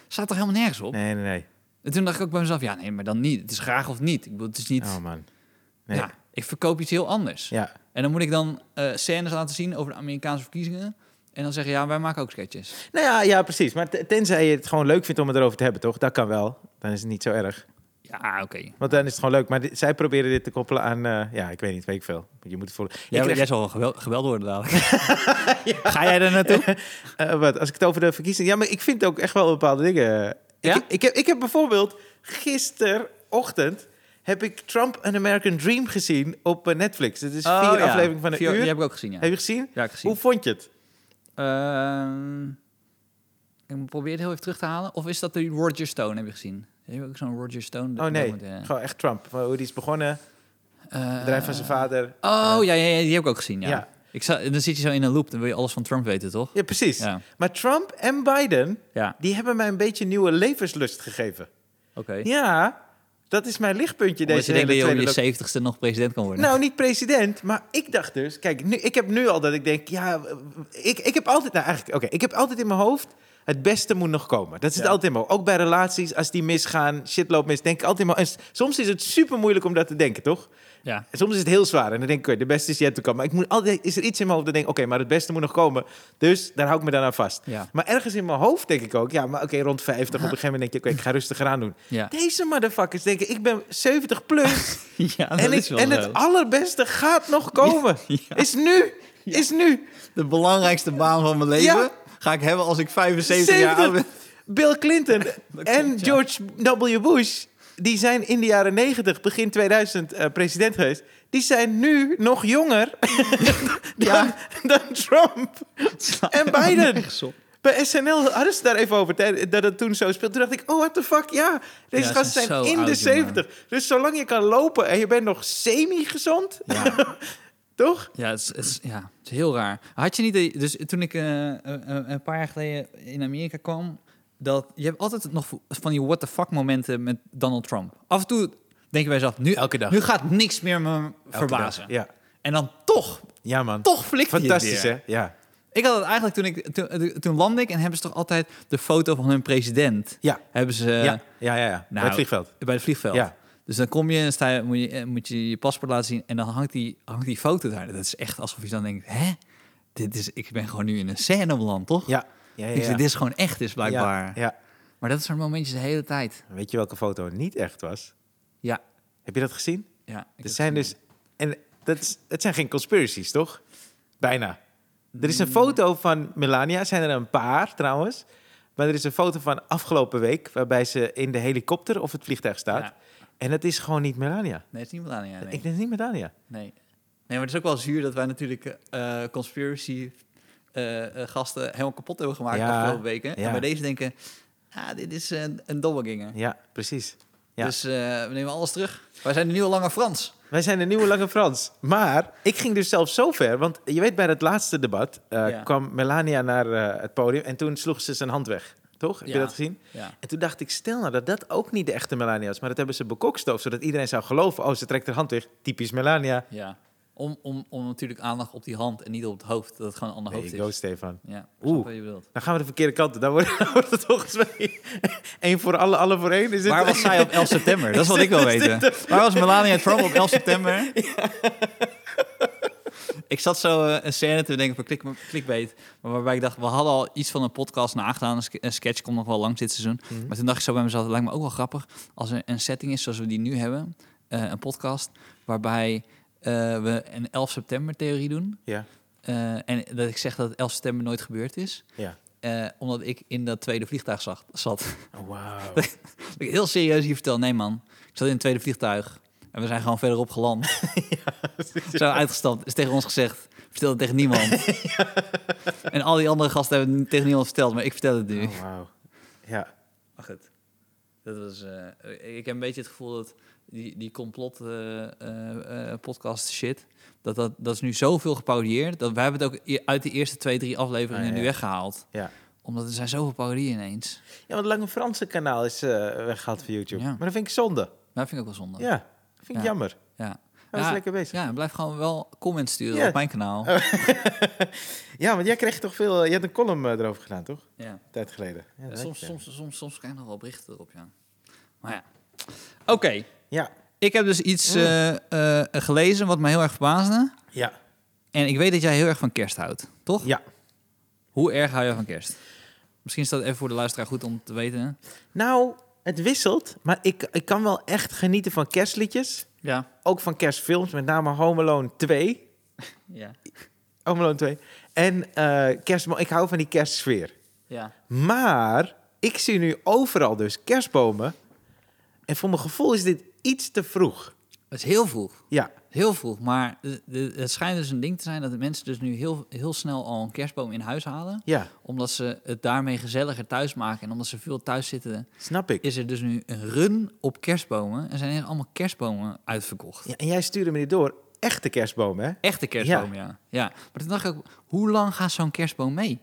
Staat toch helemaal nergens op? Nee, nee, nee. En toen dacht ik ook bij mezelf, ja, nee, maar dan niet. Het is graag of niet. Ik bedoel, het is niet... Oh, man. Nee. Ja, ik verkoop iets heel anders. Ja. En dan moet ik dan eh, scènes laten zien over de Amerikaanse verkiezingen. En dan zeggen, ja, wij maken ook sketches. Nou ja, ja, precies. Maar te- tenzij je het gewoon leuk vindt om het erover te hebben, toch? Dat kan wel. Dan is het niet zo erg. Ja, oké. Want dan is het gewoon leuk. Maar di- zij proberen dit te koppelen aan... eh, ja, ik weet niet, weet ik veel. Je moet het voelen. Ik Jij, krijg- jij zal wel gewel- geweld worden (laughs) dadelijk. Ga jij er naartoe? Eh, wat, als ik het over de verkiezingen... Ja, maar ik vind ook echt wel bepaalde dingen... Ja? Ik, ik, heb, ik heb bijvoorbeeld gisterochtend... heb ik Trump An American Dream gezien op eh, Netflix. Het is vier afleveringen van een Oh, Vier- uur. Die heb ik ook gezien, ja. Heb je gezien? Ja, ik gezien. Hoe vond je het? Ehm, ik probeer het heel even terug te halen. Of is dat de Roger Stone, heb je gezien? Heb je ook zo'n Roger Stone? Oh nee, documentaire? gewoon echt Trump. Maar Hoe die is begonnen, Eh, bedrijf van zijn vader. Oh, ja, ja, ja, die heb ik ook gezien, ja. Ja. Ik zat, dan zit je zo in een loop, dan wil je alles van Trump weten, toch? Ja, precies. Ja, Maar Trump en Biden, ja die hebben mij een beetje nieuwe levenslust gegeven. oké. Ja, dat is mijn lichtpuntje Omdat deze je hele denkt dat je tweede over je lock- zeventigste nog president kan worden. Nou, niet president, maar ik dacht dus... Kijk, nu, ik heb nu al dat ik denk... Ja, ik, ik heb altijd... Nou, eigenlijk, oké, ik heb altijd in mijn hoofd... Het beste moet nog komen. Dat zit Ja. altijd in mijn hoofd. Ook bij relaties, als die misgaan, shit loopt mis, denk ik altijd in mijn En s- soms is het super moeilijk om dat te denken, toch? Ja, En soms is het heel zwaar. En dan denk ik, oké, de beste is yet to come. Maar ik moet altijd, is er iets in mijn hoofd dat denk ik, oké, maar het beste moet nog komen. Dus daar hou ik me dan aan vast. ja, Maar ergens in mijn hoofd denk ik ook, ja, maar oké, rond 50 op een gegeven moment denk je, oké, ik ga rustiger aan doen. ja. Deze motherfuckers denken, ik ben 70 plus (laughs) ja dat en, ik- is wel en zo. het allerbeste gaat (laughs) nog komen. Is nu, is nu. De belangrijkste baan van mijn leven Ja. ga ik hebben als ik 75 jaar oud 70. ben. Bill (laughs) Clinton en klopt, ja. George W. Bush, die zijn in de jaren 90, begin 2000 eh, president geweest. Die zijn nu nog jonger (laughs) dan, (laughs) Ja. dan Trump. (laughs) En Biden. Bij SNL hadden ze daar even over, tij- dat het toen zo speelde. Toen dacht ik, oh, what the fuck, ja. Deze Ja, ze gasten zijn zijn zo in de oud, 70. Dus zolang je kan lopen en je bent nog semi-gezond, Ja, (laughs) toch? ja, het is, het is- ja, het is heel raar. Had je niet... de- Dus toen ik eh, eh, eh, een paar jaar geleden in Amerika kwam... Dat, je hebt altijd nog van die what the fuck momenten met Donald Trump. Af en toe denk je bij jezelf, nu, Elke dag. nu gaat niks meer me verbazen. Ja, En dan toch, ja man. toch flikt hij het Fantastisch, weer. hè? Ja. Ik had het eigenlijk toen ik toen, toen landde ik en hebben ze toch altijd de foto van hun president. Ja. Hebben ze eh, ja, ja, ja. ja. Bij Nou, het vliegveld. bij het vliegveld. Ja. Dus dan kom je en sta je, moet, je, eh, moet je je paspoort laten zien en dan hangt die, hangt die foto daar. Dat is echt alsof je dan denkt, hè? Dit is, ik ben gewoon nu in een scène beland, toch? Ja. Ja, ja, Ik zeg, ja. dit is gewoon echt, is blijkbaar. Ja, ja. Maar dat is zo'n momentje de hele tijd. Weet je welke foto niet echt was? Ja. Heb je dat gezien? ja ik Er heb zijn het dus... En dat, is, dat zijn geen conspiracies, toch? Bijna. Er is een Mm. foto van Melania. Zijn er een paar, trouwens. Maar er is een foto van afgelopen week... waarbij ze in de helikopter of het vliegtuig staat. Ja. En dat is gewoon niet Melania. Nee, het is niet Melania. Nee. Ik denk niet Melania. nee. nee, maar het is ook wel zuur dat wij natuurlijk eh, conspiracy eh, eh, gasten helemaal kapot hebben gemaakt Ja. de afgelopen weken. Ja. En bij deze denken, ah, dit is een, een dobbelganger. Ja, precies. Ja. Dus eh, we nemen alles terug. Wij zijn nu al langer Frans. Wij zijn de nieuwe Lange Frans. Maar ik ging dus zelfs zo ver. Want je weet, bij het laatste debat eh, Ja. kwam Melania naar eh, het podium. En toen sloeg ze zijn hand weg. Toch? Heb je Ja. dat gezien? Ja. En toen dacht ik, stel nou dat dat ook niet de echte Melania is. Maar dat hebben ze bekokstoofd, zodat iedereen zou geloven. Oh, ze trekt haar hand weg. Typisch Melania. Ja. Om, om, om natuurlijk aandacht op die hand en niet op het hoofd. Dat het gewoon een ander There hoofd you go, is. Stefan. Ja, Oeh. Oeh. wat je bedoelt. Dan gaan we de verkeerde kant op. Dan wordt, (laughs) dan wordt het volgens mij (laughs) één voor alle, alle voor één. Is het- Waar (laughs) was zij op 11 september? Dat is wat ik wil weten. Waar was Melania Trump op 11 september? Ik zat zo eh, een scène te denken voor klik, clickbait, maar waarbij ik dacht, we hadden al iets van een podcast nagedaan, een, ske- een sketch komt nog wel langs dit seizoen. Mhm. Maar toen dacht ik zo bij mezelf, het lijkt me ook wel grappig als er een setting is zoals we die nu hebben, eh, een podcast, waarbij eh, we een 11 september theorie doen. Ja. Eh, en dat ik zeg dat 11 september nooit gebeurd is. Ja. Eh, omdat ik in dat tweede vliegtuig zag, zat. (laughs) Oh, Wauw. Dat ik heel serieus hier vertel, nee man, ik zat in het tweede vliegtuig. En we zijn gewoon verderop (laughs) geland. (laughs) Zo uitgestapt, is tegen ons gezegd. Vertel het tegen (laughs) niemand. En al die andere gasten hebben het tegen niemand verteld, maar ik vertel het nu. (laughs) Oh, wauw. Ja. Ach, het. Dat was, eh, ik heb een beetje het gevoel dat die, die complot eh, eh, eh, podcast shit, dat, dat, dat is nu zoveel geparodieerd, dat wij hebben het ook i- uit de eerste twee, drie afleveringen Ah, ja. nu weggehaald. Ja. Omdat er zijn zoveel parodieën ineens. Ja, want Lange Franse kanaal is eh, weggehaald van YouTube. Ja. Maar dat vind ik zonde. Maar dat vind ik ook wel zonde. Ja, vind ik Ja. jammer. Ja. Hij was lekker bezig. Ja, blijf gewoon wel comments sturen Ja. Oh. op mijn kanaal. Ja, want jij kreeg toch veel... Je had een column eh, erover gedaan, toch? Ja. Een tijd geleden. Ja, dat soms, weet ik, ja. soms, soms, soms krijg ik nog wel berichten erop, ja. Maar ja. Oké, Ja, ik heb dus iets Mm. eh, eh, gelezen wat me heel erg verbaasde. ja, En ik weet dat jij heel erg van kerst houdt, toch? ja. Hoe erg hou jij van kerst? Misschien is dat even voor de luisteraar goed om te weten. Nou, het wisselt. Maar ik, ik kan wel echt genieten van kerstliedjes. Ja. Ook van kerstfilms. Met name Home Alone 2. Ja. Home Alone 2. En eh kerstboom. Ik hou van die kerstsfeer. Ja. Maar ik zie nu overal dus kerstbomen. En voor mijn gevoel is dit iets te vroeg. Dat is heel vroeg. Ja. Heel vroeg. Maar de- de- het schijnt dus een ding te zijn dat de mensen dus nu heel, heel snel al een kerstboom in huis halen. Ja, Omdat ze het daarmee gezelliger thuis maken. En omdat ze veel thuis zitten, snap ik. is er dus nu een run op kerstbomen. Er zijn ineens allemaal kerstbomen uitverkocht. Ja, en jij stuurde me dit door. Echte kerstboom, hè? Echte kerstboom, ja. ja. Maar toen dacht ik ook, hoe lang gaat zo'n kerstboom mee?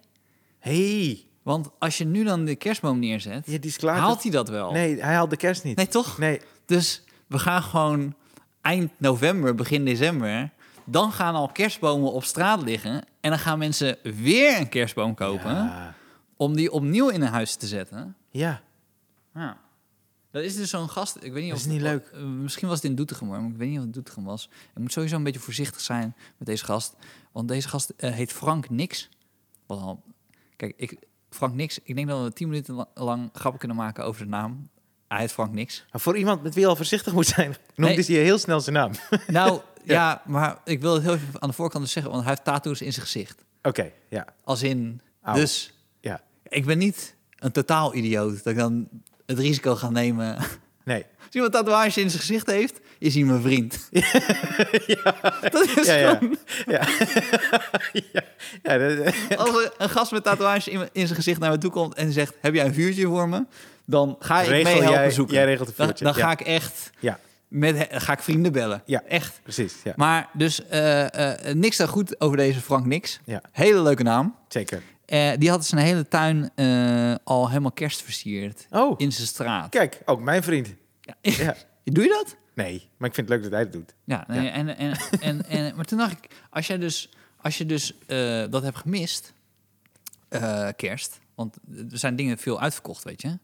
hey, Want als je nu dan de kerstboom neerzet, ja, die is klaar. haalt hij dat wel? Nee, hij haalt de kerst niet. Nee, toch? Nee, Dus we gaan gewoon eind november, begin december. Dan gaan al kerstbomen op straat liggen. En dan gaan mensen weer een kerstboom kopen. Ja. Om die opnieuw in hun huis te zetten. ja. Ja. Dat is dus zo'n gast. Ik weet niet Dat of is niet leuk. eh, misschien was het in Doetinchem, hoor, maar ik weet niet of het Doetinchem was. Ik moet sowieso een beetje voorzichtig zijn met deze gast. Want deze gast eh, heet Frank Nix. Wat al. Kijk, ik, Frank Nix. Ik denk dat we tien minuten la- lang grappen kunnen maken over de naam. Hij heet Frank Nix. Maar voor iemand met wie je al voorzichtig moet zijn, (laughs) noemde Nee. hij heel snel zijn naam. (laughs) Oké, Nou, ja. maar ik wil het heel even aan de voorkant dus zeggen, want hij heeft tattoos in zijn gezicht. ja. Als in, Au. dus Ja. ik ben niet een totaal idioot dat ik dan het risico ga nemen. (laughs) Nee. Als iemand tatoeage in zijn gezicht heeft, is hij mijn vriend. (laughs) Dat is (laughs) Ja, ja. gewoon, (laughs) Ja. ja. ja dat- als er een gast met tatoeage in, in zijn gezicht naar me toe komt en zegt, heb jij een vuurtje voor me? Dan ga ik Regel mee helpen jij- zoeken. jij regelt een Dan- vuurtje, Dan, ja. ga ik echt, ja, met, ga ik vrienden bellen. Ja. Echt. precies. Ja. Maar dus eh, eh, niks dan goed over deze Frank Nix. Ja. Hele leuke naam. Zeker. Eh, die had zijn hele tuin eh, al helemaal kerstversierd. Oh, In zijn straat. kijk, ook mijn vriend. (laughs) Ja. Doe je dat? Nee, maar ik vind het leuk dat hij het doet. Ja. nee, En, en, en, en, maar toen dacht ik, als, jij dus, als je dus eh, dat hebt gemist, eh, kerst, want er zijn dingen veel uitverkocht, weet je. Dan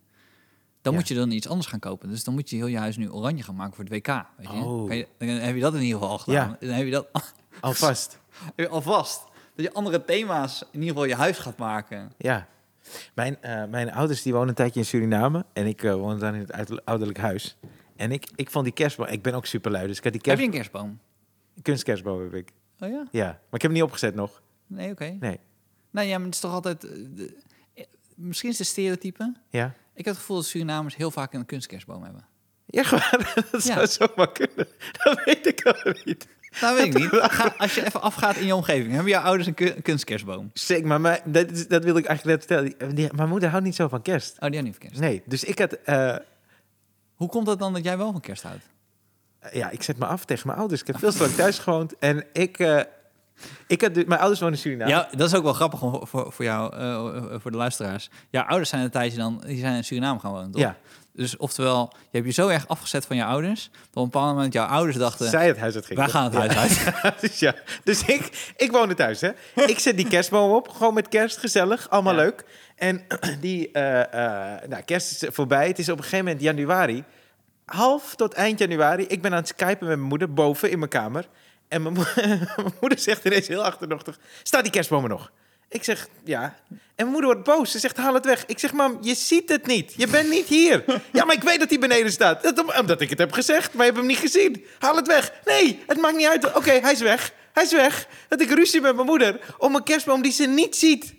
Ja. moet je dan iets anders gaan kopen. Dus dan moet je heel je huis nu oranje gaan maken voor het WK. Weet je? Oh. Kan je- dan heb je dat in ieder geval al gedaan. Ja. Dan heb je dat (laughs) Alvast. heb je alvast. Dat je andere thema's in ieder geval je huis gaat maken. Ja. Mijn, eh, mijn ouders die wonen een tijdje in Suriname en ik eh, woon dan in het uiterlijk- ouderlijk huis. En ik, ik vond die kerstboom, ik ben ook superlui, dus ik had die Heb kerst, je een kerstboom? kunstkerstboom heb ik. Oh ja? Ja, maar ik heb hem niet opgezet nog. Nee, oké. Nee. Nou ja, maar het is toch altijd... eh, de- eh, misschien is het een stereotype. Ja. Ik heb het gevoel dat Surinamers heel vaak een kunstkerstboom hebben. Ja, gewoon, (laughs) dat Ja. zou zomaar kunnen. (laughs) Dat weet ik ook niet. Nou, weet ik niet. Ga- als je even afgaat in je omgeving, hebben jouw ouders een, ku- een kunstkerstboom? Oh, Zeker, maar mijn- dat, is- dat wil ik eigenlijk net vertellen. Die- mijn moeder houdt niet zo van kerst. Oh, die hebben niet van kerst. Nee, dus ik had... eh, Hoe komt dat dan dat jij wel van kerst houdt? ja, ik zet me af tegen mijn ouders. Ik heb veel te lang thuis gewoond. En ik... eh, ik had, dus- mijn ouders wonen in Ja. Suriname. dat is ook wel grappig om- voor, voor jou, eh, eh, voor de luisteraars. Jouw ouders zijn een tijdje dan, die zijn in Suriname gaan wonen, toch? Ja. Dus oftewel, je hebt je zo erg afgezet van je ouders, dat op een bepaald moment jouw ouders dachten, Zij het huis uit ging. wij gaan het huis uit. dus (laughs) ja. Dus ik, ik woonde thuis, hè. Ik zet die kerstboom op. Gewoon met kerst, gezellig. Allemaal Ja. leuk. En (clears throat) die... eh, eh, nou, kerst is voorbij. Het is op een gegeven moment januari. Half tot eind januari. Ik ben aan het skypen met mijn moeder boven in mijn kamer. En mijn, mo- (laughs) mijn moeder zegt ineens heel achterdochtig... Staat die kerstboom er nog? Ik zeg, ja. En mijn moeder wordt boos. Ze zegt, haal het weg. Ik zeg, mam, je ziet het niet. Je bent niet hier. (laughs) Ja, maar ik weet dat hij beneden staat. Dat, om- omdat ik het heb gezegd, maar je hebt hem niet gezien. Haal het weg. Nee, het maakt niet uit. Oké, hij is weg. Hij is weg. Dat ik ruzie met mijn moeder om een kerstboom die ze niet ziet.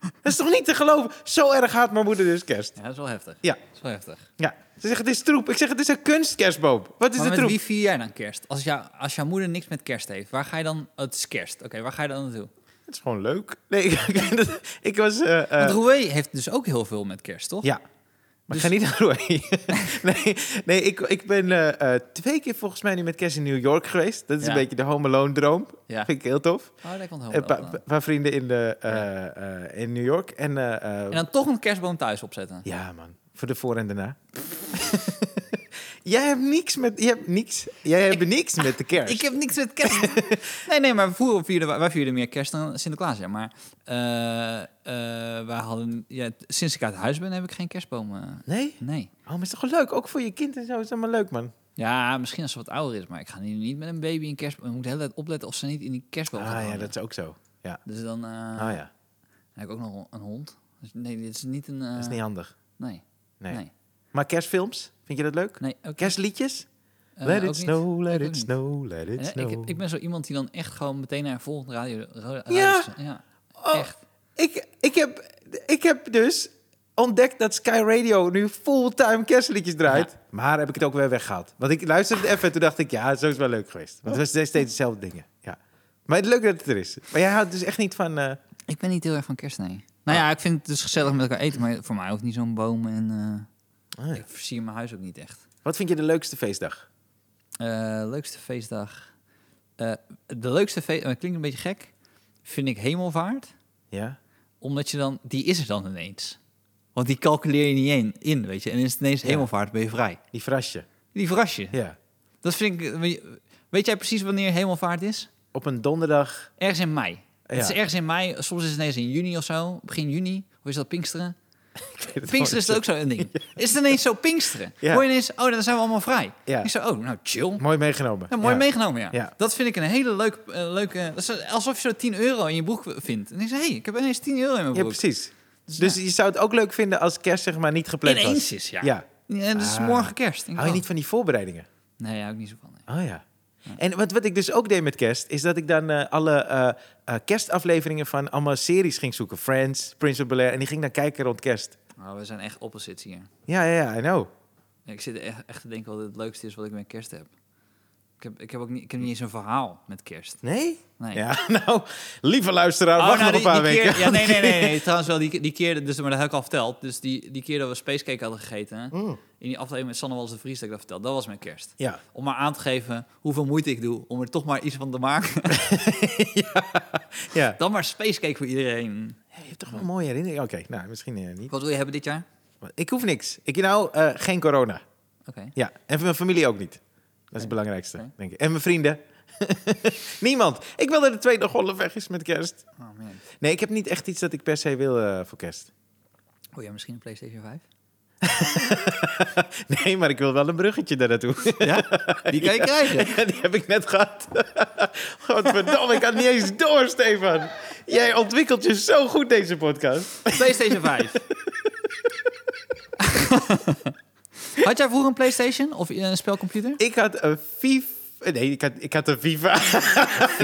Dat is toch niet te geloven? Zo erg haat mijn moeder dus kerst. Ja, dat is wel heftig. Ja. Dat is wel heftig. Ja. Ze zegt, het is troep. Ik zeg, het is een kunstkerstboom. Wat is de maar met troep? wie vier jij dan kerst? Als, jou, als jouw moeder niks met kerst heeft, waar ga je dan... oh, het is kerst. Oké, waar ga je dan naartoe? Het is gewoon leuk. Nee, ik, (laughs) ik was... eh, eh, Want Roué heeft dus ook heel veel met kerst, toch? Ja. Maar Dus- ik ga niet (laughs) naar Hawaii. nee, nee ik, ik ben eh, eh, twee keer volgens mij nu met kerst in New York geweest. Dat is Ja. een beetje de Home Alone droom. Ja. Vind ik heel tof. Oh, dat komt Een helemaal paar dan. paar vrienden in, de, eh, eh, in New York. En, eh, eh, En dan toch een kerstboom thuis opzetten. Ja man, voor de voor en daarna. (laughs) Jij hebt niks met... Je hebt niks, jij hebt niks met de kerst. (laughs) Ik heb niks met kerst. (laughs) nee, nee, maar vroeger vierden, wij- wij vierden meer kerst dan Sinterklaas, ja. Maar eh, eh, wij hadden, ja, sinds ik uit huis ben, heb ik geen kerstboom. eh. Nee? nee. Oh, maar is toch wel leuk? Ook voor je kind en zo is dat maar leuk man. Ja, misschien als ze wat ouder is, maar ik ga nu niet met een baby in kerstboom. Ik moet de hele tijd opletten of ze niet in die kerstboom gaat Ah ja, hangen. dat is ook zo. Ja. Dus dan... eh, Ah ja, Dan heb ik ook nog een hond. Dus nee, dit is niet een... eh, dat is niet handig. Nee. Nee. Nee. Maar kerstfilms, vind je dat leuk? nee ook, Kerstliedjes? eh, let ook it niet. snow, let Ik ook it niet. snow, let it Eh, snow. ik, ik ben zo iemand die dan echt gewoon meteen naar een volgende radio... ra- Ja. radio ja. Oh, Echt. ik, ik, heb, ik heb dus ontdekt dat Sky Radio nu fulltime kerstliedjes draait. Maar heb ik het ook weer weggehaald. Want ik luisterde het even en toen dacht ik, ja, zo is wel leuk geweest. Want het zijn steeds dezelfde dingen. Ja. Maar het leuk dat het er is. Maar jij houdt dus echt niet van... eh, Ik ben niet heel erg van kerst, nee. Nou ja, ik vind het dus gezellig met elkaar eten, maar voor mij hoeft niet zo'n boom en eh, Ah, ja. ik versier mijn huis ook niet echt. Wat vind je de leukste feestdag? Eh, leukste feestdag. Eh, de leukste feest, dat klinkt een beetje gek, vind ik hemelvaart, Ja? omdat je dan, die is er dan ineens. Want die calculeer je niet in, in weet je. En is het ineens Ja. hemelvaart, ben je vrij. Die frasje. Die verras je. Ja. Dat vind ik, weet jij precies wanneer hemelvaart is? Op een donderdag... Ergens in mei. Het Ja. is ergens in mei, soms is het ineens in juni of zo, begin juni. Of is (laughs) dat Pinksteren? Pinksteren is het ook zo'n ding. Is het ineens zo Pinksteren? Ja. Hoor je ineens, oh, dan zijn we allemaal vrij. Ja. Ik zo, oh, nou chill. (laughs) Mooi meegenomen. Ja, mooi Ja. meegenomen, ja. Ja. Dat vind ik een hele leuk, eh, leuke... dat is alsof je zo 10 euro in je broek vindt. En ik zeg, hé, hey, ik heb ineens 10 euro in mijn Ja, broek. precies. Dus je zou het ook leuk vinden als kerst zeg maar niet gepland was. ineens is, ja. Ja. En dat is Ah. morgen kerst. Ik Hou je oh. niet van die voorbereidingen? Nee, ja, ook niet zo van. nee. Oh ja. En wat, wat ik dus ook deed met kerst, is dat ik dan eh, alle eh, eh, kerstafleveringen van allemaal series ging zoeken. Friends, Prince of Bel-Air. En die ging dan kijken rond kerst. Maar Oh, we zijn echt opposites hier. Ja, ja, ja, I know. Ik zit echt, echt te denken wat het leukste is wat ik met kerst heb. Ik heb, ik heb ook niet, ik heb niet eens een verhaal met kerst. Nee? Nee. Ja, (laughs) nou, lieve luisteraar, Oh, wacht nou, nog die- een paar die keer- weken. ja, nee, nee, nee, nee. Trouwens wel, die, die keer, dus, maar dat heb ik al verteld. Dus die, die keer dat we spacecake hadden gegeten... Mm. in die aflevering met Sanne Wallis de Vries, dat ik dat vertelde, dat was mijn kerst. (laughs) Ja, Om maar aan te geven hoeveel moeite ik doe om er toch maar iets van te maken. (laughs) ja. Dan maar spacecake voor iedereen. Je hebt toch wel mooie herinneringen? Oké, nou, misschien eh, niet. Wat wil je hebben dit jaar? Ik hoef niks. Ik nou, eh, geen corona. Oké. Ja, en voor mijn familie ook niet. Dat is het belangrijkste, Nee. denk ik. En mijn vrienden. (laughs) Niemand. Ik wil dat de tweede golf weg is met kerst. Oh man. Nee, ik heb niet echt iets dat ik per se wil eh, voor kerst. (laughs) Oh ja, misschien een PlayStation 5? Nee, maar ik wil wel een bruggetje daar naartoe. (laughs) Ja? Die kan je krijgen. Die heb ik net gehad. (laughs) Godverdomme, ik had niet eens door, Stefan. Jij ontwikkelt je zo goed deze podcast. PlayStation 5. (laughs) Had jij vroeger een PlayStation of eh, een spelcomputer? Ik had een FIFA... Nee, ik had, ik had een FIFA.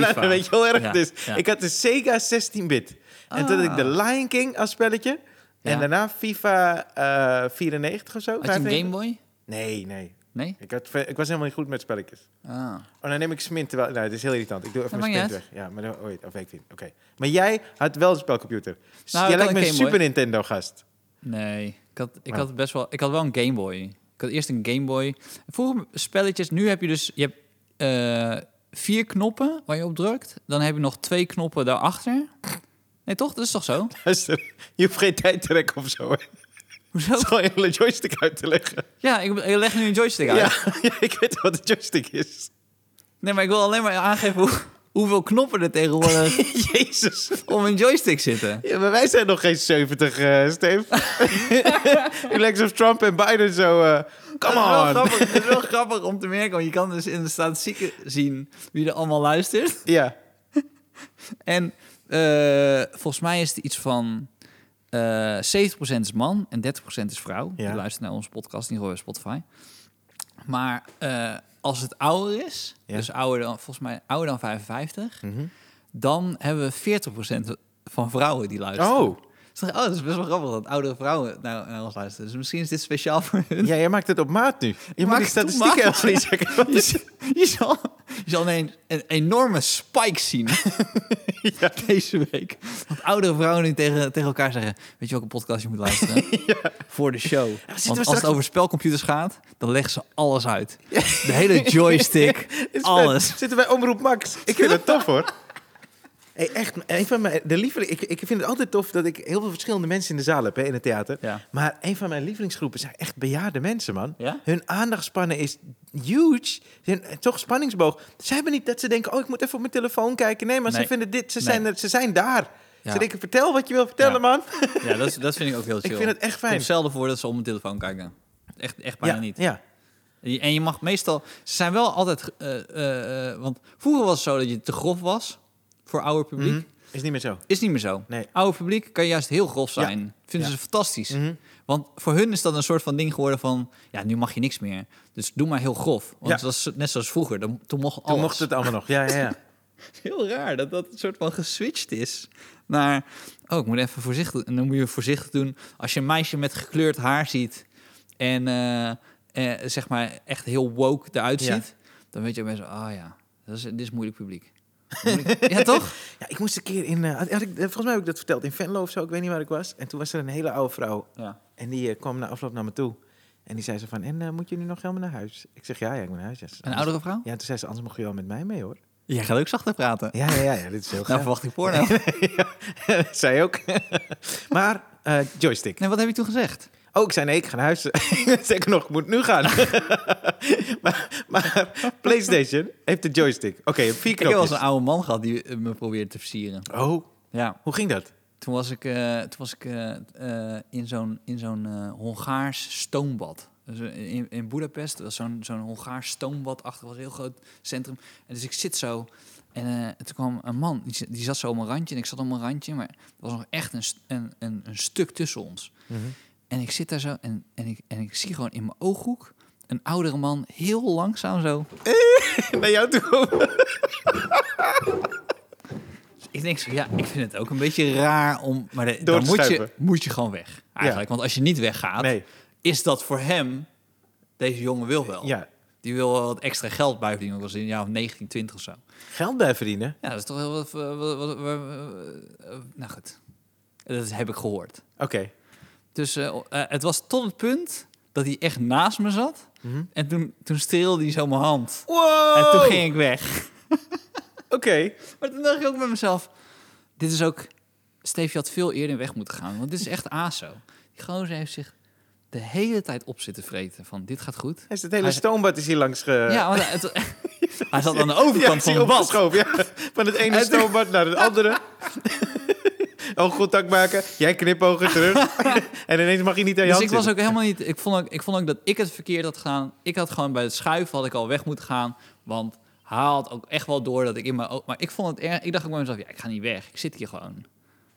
nou, dan weet je wel erg Ja, dus. ja. Ah. Ik had de Sega 16-bit. En toen had ik de Lion King als spelletje. En Ja. daarna FIFA eh, 94 of zo. Had je een 95? Game Boy? Nee, nee. Nee? Ik, had, ik was helemaal niet goed met spelletjes. Ah. Oh, dan neem ik Smint terwijl... Nou, het is heel irritant. Ik doe even Dat mijn maakt Smint niet weg. Ja, maar dan... Oh, of ik vind. Oké. Maar jij had wel een spelcomputer. S- Nou, jij ik lijkt had me een een Game Boy. Super Nintendo-gast. Nee, ik had, ik Maar- had best wel. Ik had wel een Game Boy. Ik had eerst een Game Boy. Vroeger spelletjes. Nu heb je dus je hebt, eh, vier knoppen waar je op drukt. Dan heb je nog twee knoppen daarachter. Nee, toch? Dat is toch zo? (laughs) Luister, je hoeft geen tijd te rekken of zo. hè. Hoezo? Het is gewoon een hele joystick uit te leggen. Ja, ik, ik leg nu een joystick uit. Ja, (laughs) ja, ik weet wat een joystick is. (laughs) Nee, maar ik wil alleen maar aangeven hoe, hoeveel knoppen er (laughs) tegenwoordig Jezus. om een joystick zitten. Ja, maar wij zijn nog geen 70, eh (laughs) Steve. (laughs) U lijkt of Trump en Biden zo... eh, come Dat is wel on. grappig- Dat is wel grappig om te merken, want je kan dus in de statistieken zien wie er allemaal luistert. Ja. En eh, volgens mij is het iets van eh 70% is man en 30% is vrouw. Ja. Die luistert naar onze podcast, die horen we op Spotify. Maar eh, als het ouder is, Ja. dus ouder dan, volgens mij ouder dan 55, Mhm. dan hebben we 40% van vrouwen die luisteren. Oh. Dus ik dacht, oh, dat is best wel grappig dat oudere vrouwen naar, naar ons luisteren. Dus misschien is dit speciaal voor hun. Ja, jij maakt het op maat nu. Je moet maakt die het op statistieken maat. even niet checken. Wat Je, is- z- (laughs) je zal, je zal een, een enorme spike zien (laughs) Ja. (laughs) deze week. Want oudere vrouwen die tegen, tegen elkaar zeggen... weet je welke podcast je moet (laughs) luisteren? Voor de show. Want als straks- het over spelcomputers gaat... dan leggen ze alles uit. De hele (laughs) joystick, Is alles. vet. Zitten wij Omroep Max. Ik vind het tof, hoor. (laughs) Hey, echt, een van mijn, de lieveling, ik, ik vind het altijd tof dat ik heel veel verschillende mensen in de zaal heb, hè, in het theater. Ja. Maar een van mijn lievelingsgroepen zijn echt bejaarde mensen, man. Ja? Hun aandachtspannen is huge. Hun, eh, toch spanningsboog. Ze hebben niet dat ze denken, oh, ik moet even op mijn telefoon kijken. Nee, maar ze Nee. vinden dit, ze, Nee. zijn, er- ze zijn daar. Ja. Ze denken, vertel wat je wil vertellen, Ja. man. Ja, dat, is- dat vind ik ook heel chill. Ik vind het echt Het fijn. komt zelden voor dat ze op mijn telefoon kijken. Echt, echt (laughs) bijna ja, niet. Ja. En en je mag meestal... Ze zijn wel altijd... eh, eh, eh, want vroeger was het zo dat je te grof was... voor ouder publiek. Mhm. Is niet meer zo. Is niet meer zo. Nee. Oude publiek kan juist heel grof Ja. zijn. Vinden Ja. ze fantastisch. Mhm. Want voor hun is dat een soort van ding geworden van... ja, nu mag je niks meer. Dus doe maar heel grof. Want Ja. dat is net zoals vroeger. Dan, toen mocht Toen (laughs) alles. mocht het allemaal nog. Ja, ja, ja. Heel raar dat dat een soort van geswitcht is. naar... Oh, ik moet even voorzichtig... En dan moet je voorzichtig doen. Als je een meisje met gekleurd haar ziet... en eh, eh, zeg maar echt heel woke eruit Ja. ziet... dan weet je mensen... Ah ja, dat is, dit is moeilijk publiek. Moeilijk- (laughs) ja, toch? Ja, ik moest een keer in... eh, had- had ik, eh, volgens mij heb ik dat verteld in Venlo of zo. Ik weet niet waar ik was. En toen was er een hele oude vrouw. Ja. En die eh, kwam na afloop naar me toe. En die zei ze van... En eh, moet je nu nog helemaal naar huis? Ik zeg, ja, ja, ik moet naar huis. Ja, ze- Een oudere vrouw? Ja, toen zei ze, anders mag je wel met mij mee, hoor. Jij gaat ook zachter praten. Ja, ja, ja, ja dit is heel Nou gaaf. verwacht ik porno. (laughs) Zij ook. maar, eh, joystick. (laughs) Nee, wat heb je toen gezegd? Oh, ik zei nee, ik ga naar huis. (laughs) Zeker nog, ik moet nu gaan. (laughs) maar, maar PlayStation heeft de joystick. Oké, vier Ik heb wel eens een knopjes. oude man gehad die eh, me probeerde te versieren. Oh, Ja. hoe ging (laughs) dat? Toen was ik, eh, toen was ik eh, eh, in zo'n, in zo'n eh, Hongaars stoombad. Dus eh, in, in Boedapest was zo'n, zo'n Hongaars stoombad achter, was een heel groot centrum. En dus ik zit zo. En eh, toen kwam een man, die, z- die zat zo op mijn randje en ik zat op mijn randje. Maar er was nog echt een, st- een, een, een stuk tussen ons. En ik zit daar zo en, en, ik, en ik zie gewoon in mijn ooghoek een oudere man heel langzaam zo. Naar jou toe. Ik denk zo, ja, ik vind het ook een beetje raar om... Maar de- Door dan te moet je, schuiven. moet je gewoon weg, eigenlijk. Want als je niet weggaat, Nee. is dat voor hem... Deze jongen wil wel. Ja, Die wil wel wat extra geld bijverdienen. Ook al in ja, of 19, 20 of zo. geld bij verdienen. Ja, dat is toch heel wat... eh, wat- wat- wat- eh, eh, nou goed, dat heb ik gehoord. Oké. Dus eh, eh, het was tot het punt dat hij echt naast me zat. Mhm. En toen, toen streelde hij zo mijn hand. Wow! En toen ging ik weg. Oké. Maar toen dacht ik ook bij mezelf... Dit is ook... Steve, je had veel eerder weg moeten gaan. Want dit is echt ASO. Die gozer heeft zich de hele tijd op zitten vreten. Van, dit gaat goed. Hij is het hele Hij- stoombad is hier langs ge... ja, want het, hij zat aan de Eh. (laughs) Ja, overkant is van hier de bad. opgeschoven. (laughs) Ja. Van het ene En- stoombad naar het andere. (laughs) Oogcontact maken. Jij knipogen (laughs) terug. en ineens mag je niet aan je Dus hand ik was zitten. ook helemaal niet... Ik vond ook, ik vond ook dat ik het verkeerd had gedaan. Ik had gewoon bij het schuiven had ik al weg moeten gaan. Want hij had ook echt wel door dat ik in mijn... o- Maar ik vond het erg... Ik dacht ook bij mezelf, ja, ik ga niet weg. Ik zit hier gewoon.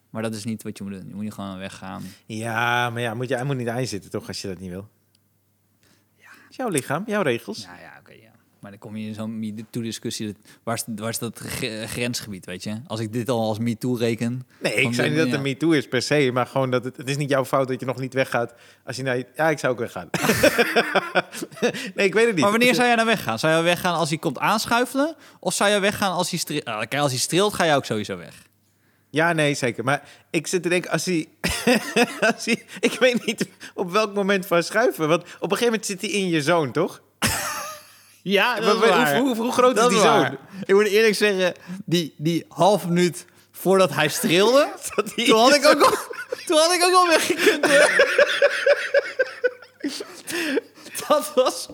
Maar dat is niet wat je moet doen. Je moet hier gewoon weggaan. Ja, maar ja, moet je, hij moet niet aan je zitten toch als je dat niet wil. Ja. Het is jouw lichaam, jouw regels. Nou ja, oké, ja. Maar dan kom je in zo'n MeToo-discussie. dat- Waar, is- waar is dat gre- grensgebied, weet je? Als ik dit al als MeToo reken... Nee, dan ik zei ben- niet dat ja. het een MeToo is per se, maar gewoon dat het, het is niet jouw fout dat je nog niet weggaat. Als je naar je- ja, ik zou ook weggaan. (laughs) nee, ik weet het niet. Maar wanneer zou jij dan weggaan? Zou jij weggaan als hij komt aanschuifelen? Of zou jij weggaan als hij streelt? Nou, kijk, als hij streelt, ga jij ook sowieso weg. Ja, nee, zeker. Maar ik zit te denken, als hij, (laughs) als hij... Ik weet niet op welk moment van schuiven. Want op een gegeven moment zit hij in je zoon, toch? Ja, Maar we- Hoe, hoe, hoe groot is die zoon? (laughs) Ik moet eerlijk zeggen, die, die half minuut voordat hij streelde... Dat die- toen, had ik (laughs) ook al, (laughs) toen had ik ook al weggekund, hoor. dat was...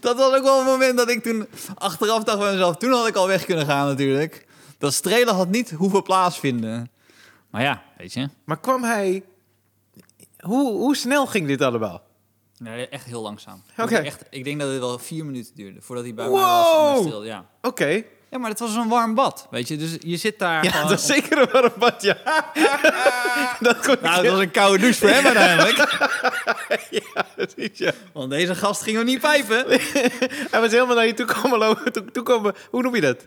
Dat was ook wel een moment dat ik toen achteraf dacht bij mezelf... toen had ik al weg kunnen gaan natuurlijk. Dat strelen had niet hoeven plaatsvinden. Maar ja, weet je. Maar kwam hij... Hoe, hoe snel ging dit allemaal? Nee, echt heel langzaam. Oké. Echt, ik denk dat het wel vier minuten duurde voordat hij bij Wow! mij was. en stil, ja. Oké. ja, maar het was een warm bad, weet je. Dus je zit daar Ja, gewoon... dat is zeker een warm bad, (laughs) ja. dat kon ik... Nou, dat was een koude douche voor hem uiteindelijk. (laughs) Ja, precies, ja. Want deze gast ging hem niet pijpen. Hij was helemaal naar je toe komen lopen. Toe, toe komen. Hoe noem je dat?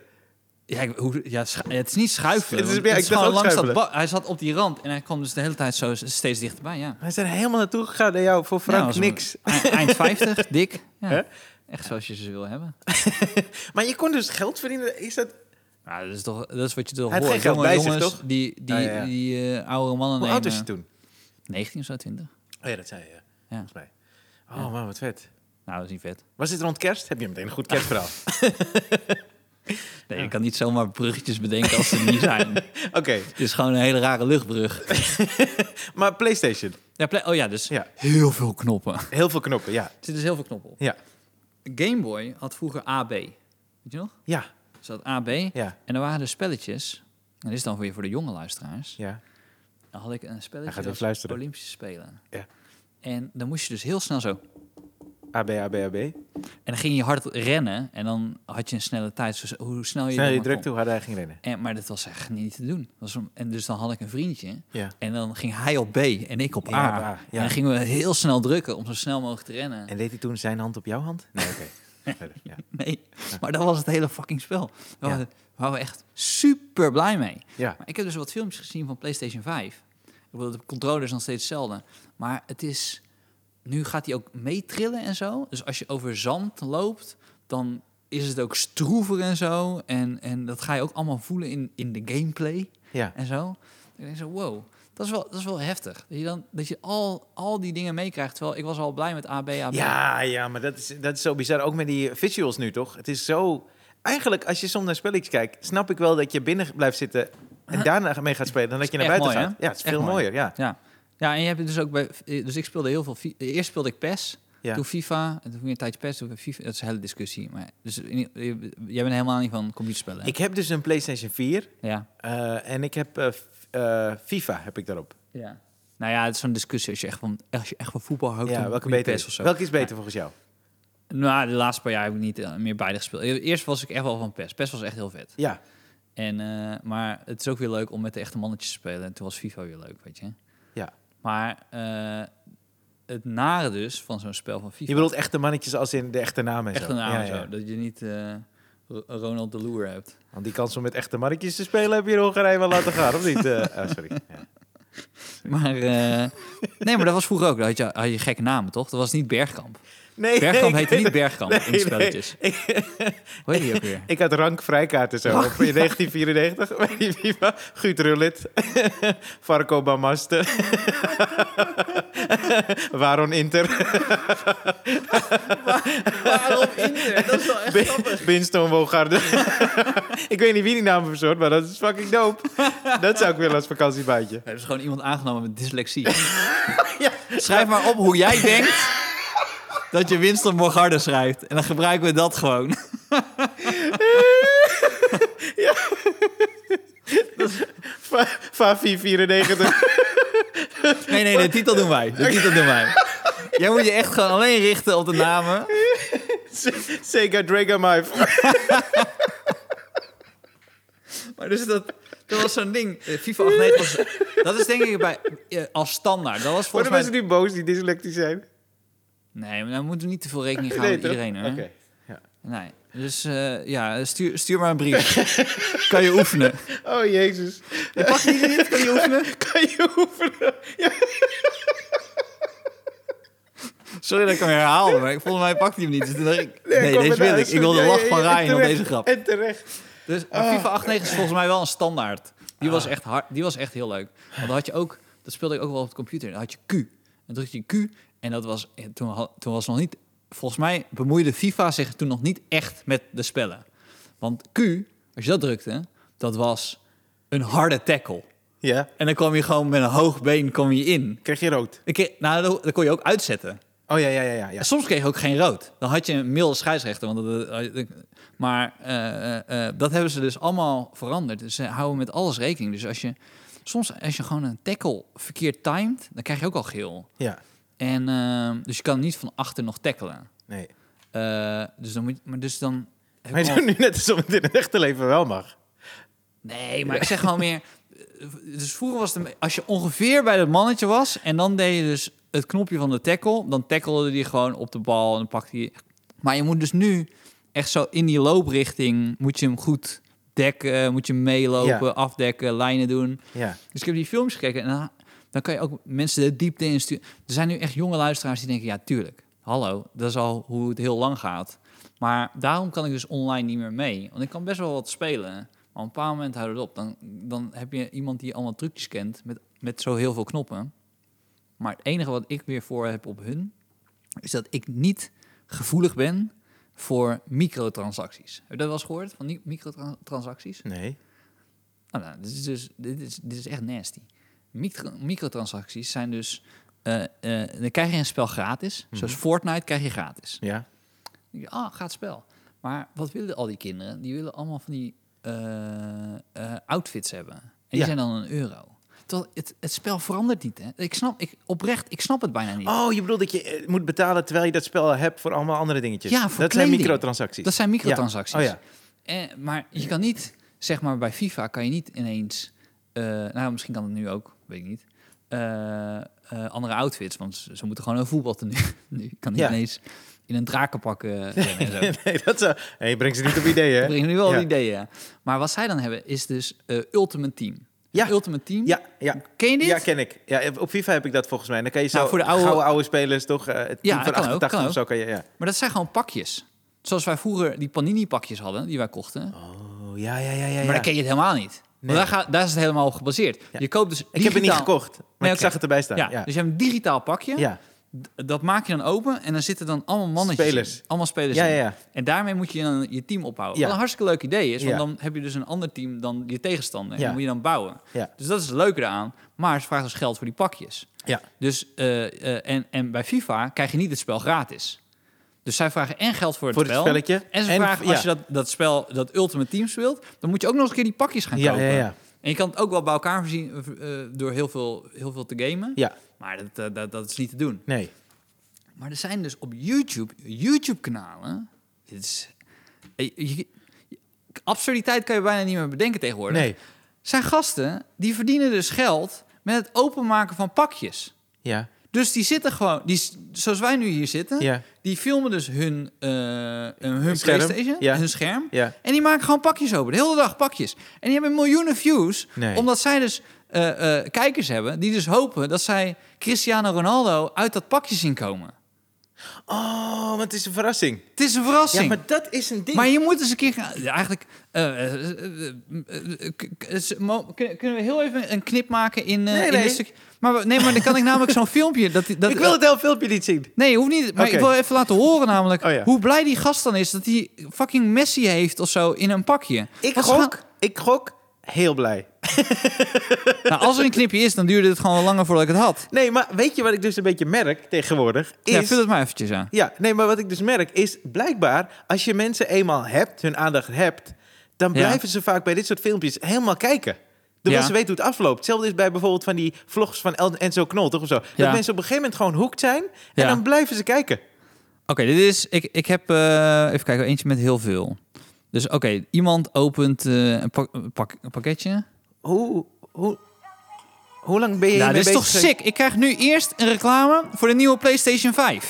Ja, ik- hoe, ja schu- het is niet schuiven. Het is- want ja, ik dacht gewoon ook langs dat schuifelen. bad. Hij zat op die rand en hij kwam dus de hele tijd zo steeds dichterbij, ja. Hij is er helemaal naartoe gegaan naar jou. Voor Ja, Frank was een- niks. e- (laughs) Eind 50, dik. Ja. Hè? Echt zoals je ze wil hebben. Maar je kon dus geld verdienen. Is dat... Nou, dat is toch dat is wat je toch Hij had hoort. geen geld Jonge bij zich, jongens toch? die, die, Ja, ja, ja. die eh, oudere mannen Hoe oud was je nemen. toen? 19 of zo, 20. Oh ja, dat zei je. ja. Ja. Volgens mij. Oh man, wat vet. Nou, dat is niet vet. Was dit rond kerst? Heb je meteen een goed kerstverhaal? (laughs) Nee, je kan niet zomaar bruggetjes bedenken als ze er niet (laughs) zijn. Oké, Het is gewoon een hele rare luchtbrug. maar PlayStation. Ja, play- oh ja, dus Ja. heel veel knoppen. Er Heel veel knoppen, ja. zitten dus heel veel knoppen op. Ja, Game Boy had vroeger AB. Weet je nog? ja, Er zat AB. ja. En er waren er spelletjes. En dit is dan weer voor de jonge luisteraars. ja. Dan had ik een Hij spelletje gaat weer als fluisteren. Olympische Spelen. Ja. En dan moest je dus heel snel zo. AB, AB, AB. En dan ging je hard rennen. En dan had je een snelle tijd. Dus hoe snel je, Snel dan je maar druk kon. toe, harder hij ging rennen. En, maar dat was echt niet te doen. Dat was om- en dus dan had ik een vriendje. Ja. En dan ging hij op B en ik op A. Ja, op A, ja. En dan gingen we heel snel drukken om zo snel mogelijk te rennen. (laughs) En deed hij toen zijn hand op jouw hand? Nee, oké. Verder, ja. Nee, Maar dat was het hele fucking spel. Daar waren waren we echt super blij mee. Ja. Maar ik heb dus wat filmpjes gezien van PlayStation 5. Ik bedoel, de controller is nog steeds hetzelfde. Maar het is... Nu gaat hij ook meetrillen en zo. Dus als je over zand loopt, dan is het ook stroever en zo. En, en dat ga je ook allemaal voelen in, in de gameplay Ja. en zo. Ik denk zo, wow, dat is wel, dat is wel heftig. Dat je, dan, dat je al, al die dingen meekrijgt. Terwijl ik was al blij met AB, AB. Ja, ja, maar dat is, dat is zo bizar. Ook met die visuals nu, toch? Het is zo... Eigenlijk, als je soms naar spelletjes kijkt, snap ik wel dat je binnen blijft zitten en daarna mee gaat spelen dan dat je naar Echt buiten mooi, gaat. hè? Ja, het is Echt veel mooi. mooier. Ja. Ja. ja, en je hebt dus ook bij... Dus ik speelde heel veel... fi- Eerst speelde ik PES, Ja. toen FIFA. En toen ging een tijdje PES, toen weer FIFA. Dat is een hele discussie. Maar, dus in- je- jij bent helemaal niet van computerspellen. hè? Ik heb dus een PlayStation 4 Ja. eh, en ik heb eh, f- eh, FIFA heb ik daarop. ja. Nou ja, het is zo'n discussie als je echt van, als je echt van voetbal houdt. Ja, dan welke moet je beter PES is? of zo. Welke is beter volgens jou? Nou, de laatste paar jaar heb ik niet eh, meer beide gespeeld. Eerst was ik echt wel van PES. PES was echt heel vet. Ja, En, eh, maar het is ook weer leuk om met de echte mannetjes te spelen. En toen was FIFA weer leuk, weet je. Ja. Maar eh, het nare dus van zo'n spel van je FIFA... bedoelt echte mannetjes als in de echte naam en echt zo. een naam Ja, en zo. ja. Dat je niet eh, Ro- Ronald de Loer hebt. Want die kans om met echte mannetjes te spelen heb je in Hongarije wel laten gaan, of niet? Eh, ah, sorry. Ja. Maar, eh, nee, maar dat was vroeger ook. Dan had je, had je gekke namen, toch? Dat was niet (laughs) Bergkamp. Nee, Bergkamp ik- heette niet Bergkamp in de nee. (laughs) spelletjes. Hoe heet die ook weer? Ik had rankvrijkaarten zo op, in 1994. (laughs) Weet je wie wa- Guut Rullit, (laughs) Farco (laughs) Bamaste, Waaron Inter, Waarom Inter? Dat is wel echt Binston Wogarde. (laughs) ik weet niet wie die naam verzorgt, maar dat is fucking dope. dat zou ik willen als vakantiebaantje. Hebben ze gewoon iemand aangenomen met (laughs) dyslexie? Ja. Schrijf maar op hoe jij denkt dat je Winston Bogarde schrijft. En dan gebruiken we dat gewoon. Fa- Fafi (laughs) 94. Nee, nee, de titel doen wij. De titel doen (laughs) wij. Jij moet je echt gewoon alleen richten op de namen. Sega Dragamite. Maar dus dat, dat was zo'n ding. Eh, FIFA 89 was... Dat is denk ik bij, eh, als standaard. Dat was Worden volgens mij... mensen nu boos die dyslectisch zijn? Nee, maar daar moeten we niet te veel (laughs) rekening gaan Nee, met toch? Nou, iedereen. Hè? Oké. Nee. Dus eh, ja, stuur, stuur maar een brief. (laughs) kan je oefenen. Oh, jezus. Je past die er niet, kan je oefenen. Kan je (laughs) oefenen? Sorry dat ik hem herhaalde, maar ik- volgens mij pakte hij hem niet. Dus toen dacht ik, nee, kom maar deze wil na, ik. is Ik wil de goed. Ja, lach ja, van ja, en Ryan op terecht. deze grap. En terecht. Dus maar FIFA 8.9 is volgens mij wel een standaard. Die was echt hard, die was echt heel leuk. Want dan had je ook, dat speelde ik ook wel op de computer. Dan had je Q. Dan drukte je Q en dat was en toen, had- toen was nog niet. Volgens mij bemoeide FIFA zich toen nog niet echt met de spellen. Want Q, als je dat drukte, dat was een harde tackle. Ja. En dan kwam je gewoon met een hoog been kwam je in. Krijg je rood? Dan kreeg- nou, dat- dat kon je ook uitzetten. Oh ja, ja, ja, ja. ja. En soms kreeg je ook geen rood. Dan had je een milde scheidsrechter. Want dat- dat- dat- maar eh, eh, eh, dat hebben ze dus allemaal veranderd. Dus ze houden met alles rekening. Dus als je soms als je gewoon een tackle verkeerd timed, dan krijg je ook al geel. Ja. En, eh, dus je kan niet van achter nog tackelen. Nee. Eh, dus dan moet je, maar dus dan. heb Maar ik je al- doet nu net alsof het in het echte leven wel mag. Nee, maar ik zeg gewoon meer. eh, Dus vroeger was het. een- Als je ongeveer bij dat mannetje was. en dan deed je dus het knopje van de tackle. dan tackelde die gewoon op de bal. en dan pakte hij. Maar je moet dus nu echt zo in die looprichting. moet je hem goed dekken. moet je hem meelopen, Ja. afdekken, lijnen doen. Ja. Dus ik heb die films gekeken. en dan, dan kan je ook mensen de diepte insturen. Er zijn nu echt jonge luisteraars die denken: ja, tuurlijk. Hallo, dat is al hoe het heel lang gaat. Maar daarom kan ik dus online niet meer mee. Want ik kan best wel wat spelen. Maar op een bepaald moment houdt het op. Dan, dan heb je iemand die allemaal trucjes kent met, met zo heel veel knoppen. Maar het enige wat ik weer voor heb op hun... is dat ik niet gevoelig ben voor microtransacties. Heb je dat wel eens gehoord, van die microtransacties? Nee. Nou, nou, dit is dus dit is, dit is echt nasty. Micro, microtransacties zijn dus. eh, eh, dan krijg je een spel gratis. Zoals Fortnite krijg je gratis. Ja. Dan denk je, ah, gaat spel. Maar wat willen al die kinderen? Die willen allemaal van die eh, eh, outfits hebben. En die Ja. zijn dan een euro. Terwijl het, het spel verandert niet. Hè? Ik snap, ik, oprecht, ik snap het bijna niet. Oh, je bedoelt dat je eh, moet betalen terwijl je dat spel al hebt voor allemaal andere dingetjes. Ja, voor dat zijn kleding. microtransacties. Dat zijn microtransacties. Ja. Oh ja. Eh, maar je kan niet, zeg maar bij FIFA kan je niet ineens, eh, nou misschien kan het nu ook, weet ik niet, eh, eh, andere outfits, want ze, ze moeten gewoon een voetbaltenue. (laughs) nu kan niet Ja. ineens in in een (laughs) drakenpak eh rennen en zo. (laughs) nee, dat zou... Hey, je brengt ze niet op ideeën, Ik hè? breng nu wel Ja. ideeën. ja. Maar wat zij dan hebben is dus eh, Ultimate Team. Ja. Ultimate Team. Ja, ja. Ken je dit? Ja, ken ik. Ja, op FIFA heb ik dat volgens mij. Dan kan je zo Nou, voor de oude- gouden oude spelers toch... eh, het team dat van kan ook, 88 kan of zo kan je... Ja. Maar dat zijn gewoon pakjes. Zoals wij vroeger die panini pakjes hadden, die wij kochten. Oh, ja, ja, ja, ja. ja. Maar dan ken je het helemaal niet. Nee. Want daar, ga- daar is het helemaal op gebaseerd. Ja. Je koopt dus digitaal... Ik heb het niet gekocht, maar Nee, ik oké. zag het erbij staan. Ja, Ja, ja. Dus je hebt een digitaal pakje. ja. D- Dat maak je dan open en dan zitten dan allemaal mannetjes Spelers. in. Allemaal spelers ja, in. ja, En daarmee moet je dan je team opbouwen. Ja. Wat een hartstikke leuk idee is, want Ja. dan heb je dus een ander team dan je tegenstander. En Ja. die moet je dan bouwen. Ja. Dus dat is het leuke eraan. Maar ze vragen dus geld voor die pakjes. Ja. Dus, eh, eh, en, en bij FIFA krijg je niet het spel gratis. Dus zij vragen en geld voor het, Voor het spel. spelletje. En ze En- vragen, als ja. je dat, dat spel, dat Ultimate Team speelt... dan moet je ook nog eens een keer die pakjes gaan Ja, kopen. ja, ja. En je kan het ook wel bij elkaar voorzien eh, eh, door heel veel, heel veel te gamen. Ja, Maar dat, eh, dat, dat is niet te doen. nee. Maar er zijn dus op YouTube, YouTube-kanalen. Dit is. eh, je- je- absurditeit kan je bijna niet meer bedenken tegenwoordig. Nee. Zijn gasten die verdienen dus geld met het openmaken van pakjes. Ja, Dus die zitten gewoon, die, s- zoals wij nu hier zitten, ja, die filmen dus hun, eh, hun, hun Scherm, PlayStation, ja. hun scherm. ja. En die maken gewoon pakjes open, de hele dag pakjes. En die hebben miljoenen views, Nee. omdat zij dus eh, eh, kijkers hebben... die dus hopen dat zij Cristiano Ronaldo uit dat pakje zien komen. Oh, want het is een verrassing. Het is een verrassing. Ja, maar... maar dat is een ding. je moet eens een keer gaan. ja, Eigenlijk. eh, eh, eh, eh, eh, k- k- is- mo- kun- Kunnen we heel even een knip maken in, eh Nee, in nee. dit stuk? Maar we- nee, maar dan kan ik namelijk (laughs) zo'n filmpje. Dat, dat, ik wil het hele filmpje niet zien. Nee, hoeft niet. Maar Oké. ik wil even laten horen namelijk Oh ja. hoe blij die gast dan is dat hij fucking Messi heeft of zo in een pakje. Ik Want ze gok, gaan- ik gok, heel blij. nou, als er een knipje is, dan duurde het gewoon langer voordat ik het had. Nee, maar weet je wat ik dus een beetje merk tegenwoordig? Is, Ja, vul het maar eventjes aan. Ja, nee, maar wat ik dus merk is blijkbaar als je mensen eenmaal hebt, hun aandacht hebt, dan Ja. blijven ze vaak bij dit soort filmpjes helemaal kijken. Terwijl Ja. ze weten hoe het afloopt. Hetzelfde is bij bijvoorbeeld van die vlogs van El- Enzo Knol, toch? Of zo. Ja. Dat mensen op een gegeven moment gewoon hoekt zijn en Ja. dan blijven ze kijken. Oké, dit is. Ik, ik heb. eh, even kijken, eentje met heel veel. Dus oké, iemand opent eh, een, pak- een pak- een pakketje. Hoe, hoe, hoe lang ben je Nou, hiermee dit is toch bezig? sick. Ik krijg nu eerst een reclame voor de nieuwe PlayStation 5.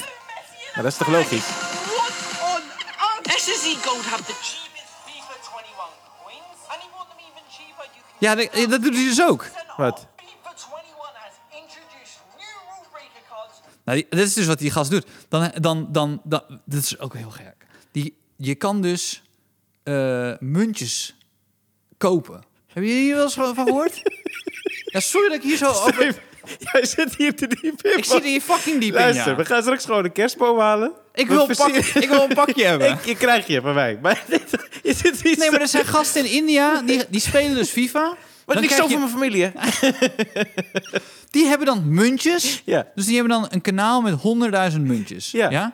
Maar dat is toch logisch? What on earth? This is he gold have the cheapest FIFA 21 coins, and he want them even cheaper. You can Ja, dat, dat doet hij dus ook. Wat? FIFA 21 has introduced new rule breaker cards. Nou, die- dit is dus wat die gast doet. Dan, dan, dan, dan, dat is ook heel gek. Die, je kan dus eh, muntjes kopen. Heb je hier wel eens van van gehoord? (laughs) ja, sorry dat ik hier zo over... Steven, (laughs) jij zit hier te diep in. Ik man. zit hier fucking diep Luister, in, we ja. gaan straks gewoon een kerstboom halen. Ik We wil, een pak, versieren- ik wil een pakje (laughs) hebben. Ik, je krijg je van mij. Maar (laughs) dit- je zit hier Nee, maar zo- er zijn gasten in India, die, die spelen dus FIFA. Maar Dan niks zo krijg je- van mijn familie, hè? Die hebben dan muntjes. Ja. Dus die hebben dan een kanaal met 100.000 muntjes. Ja.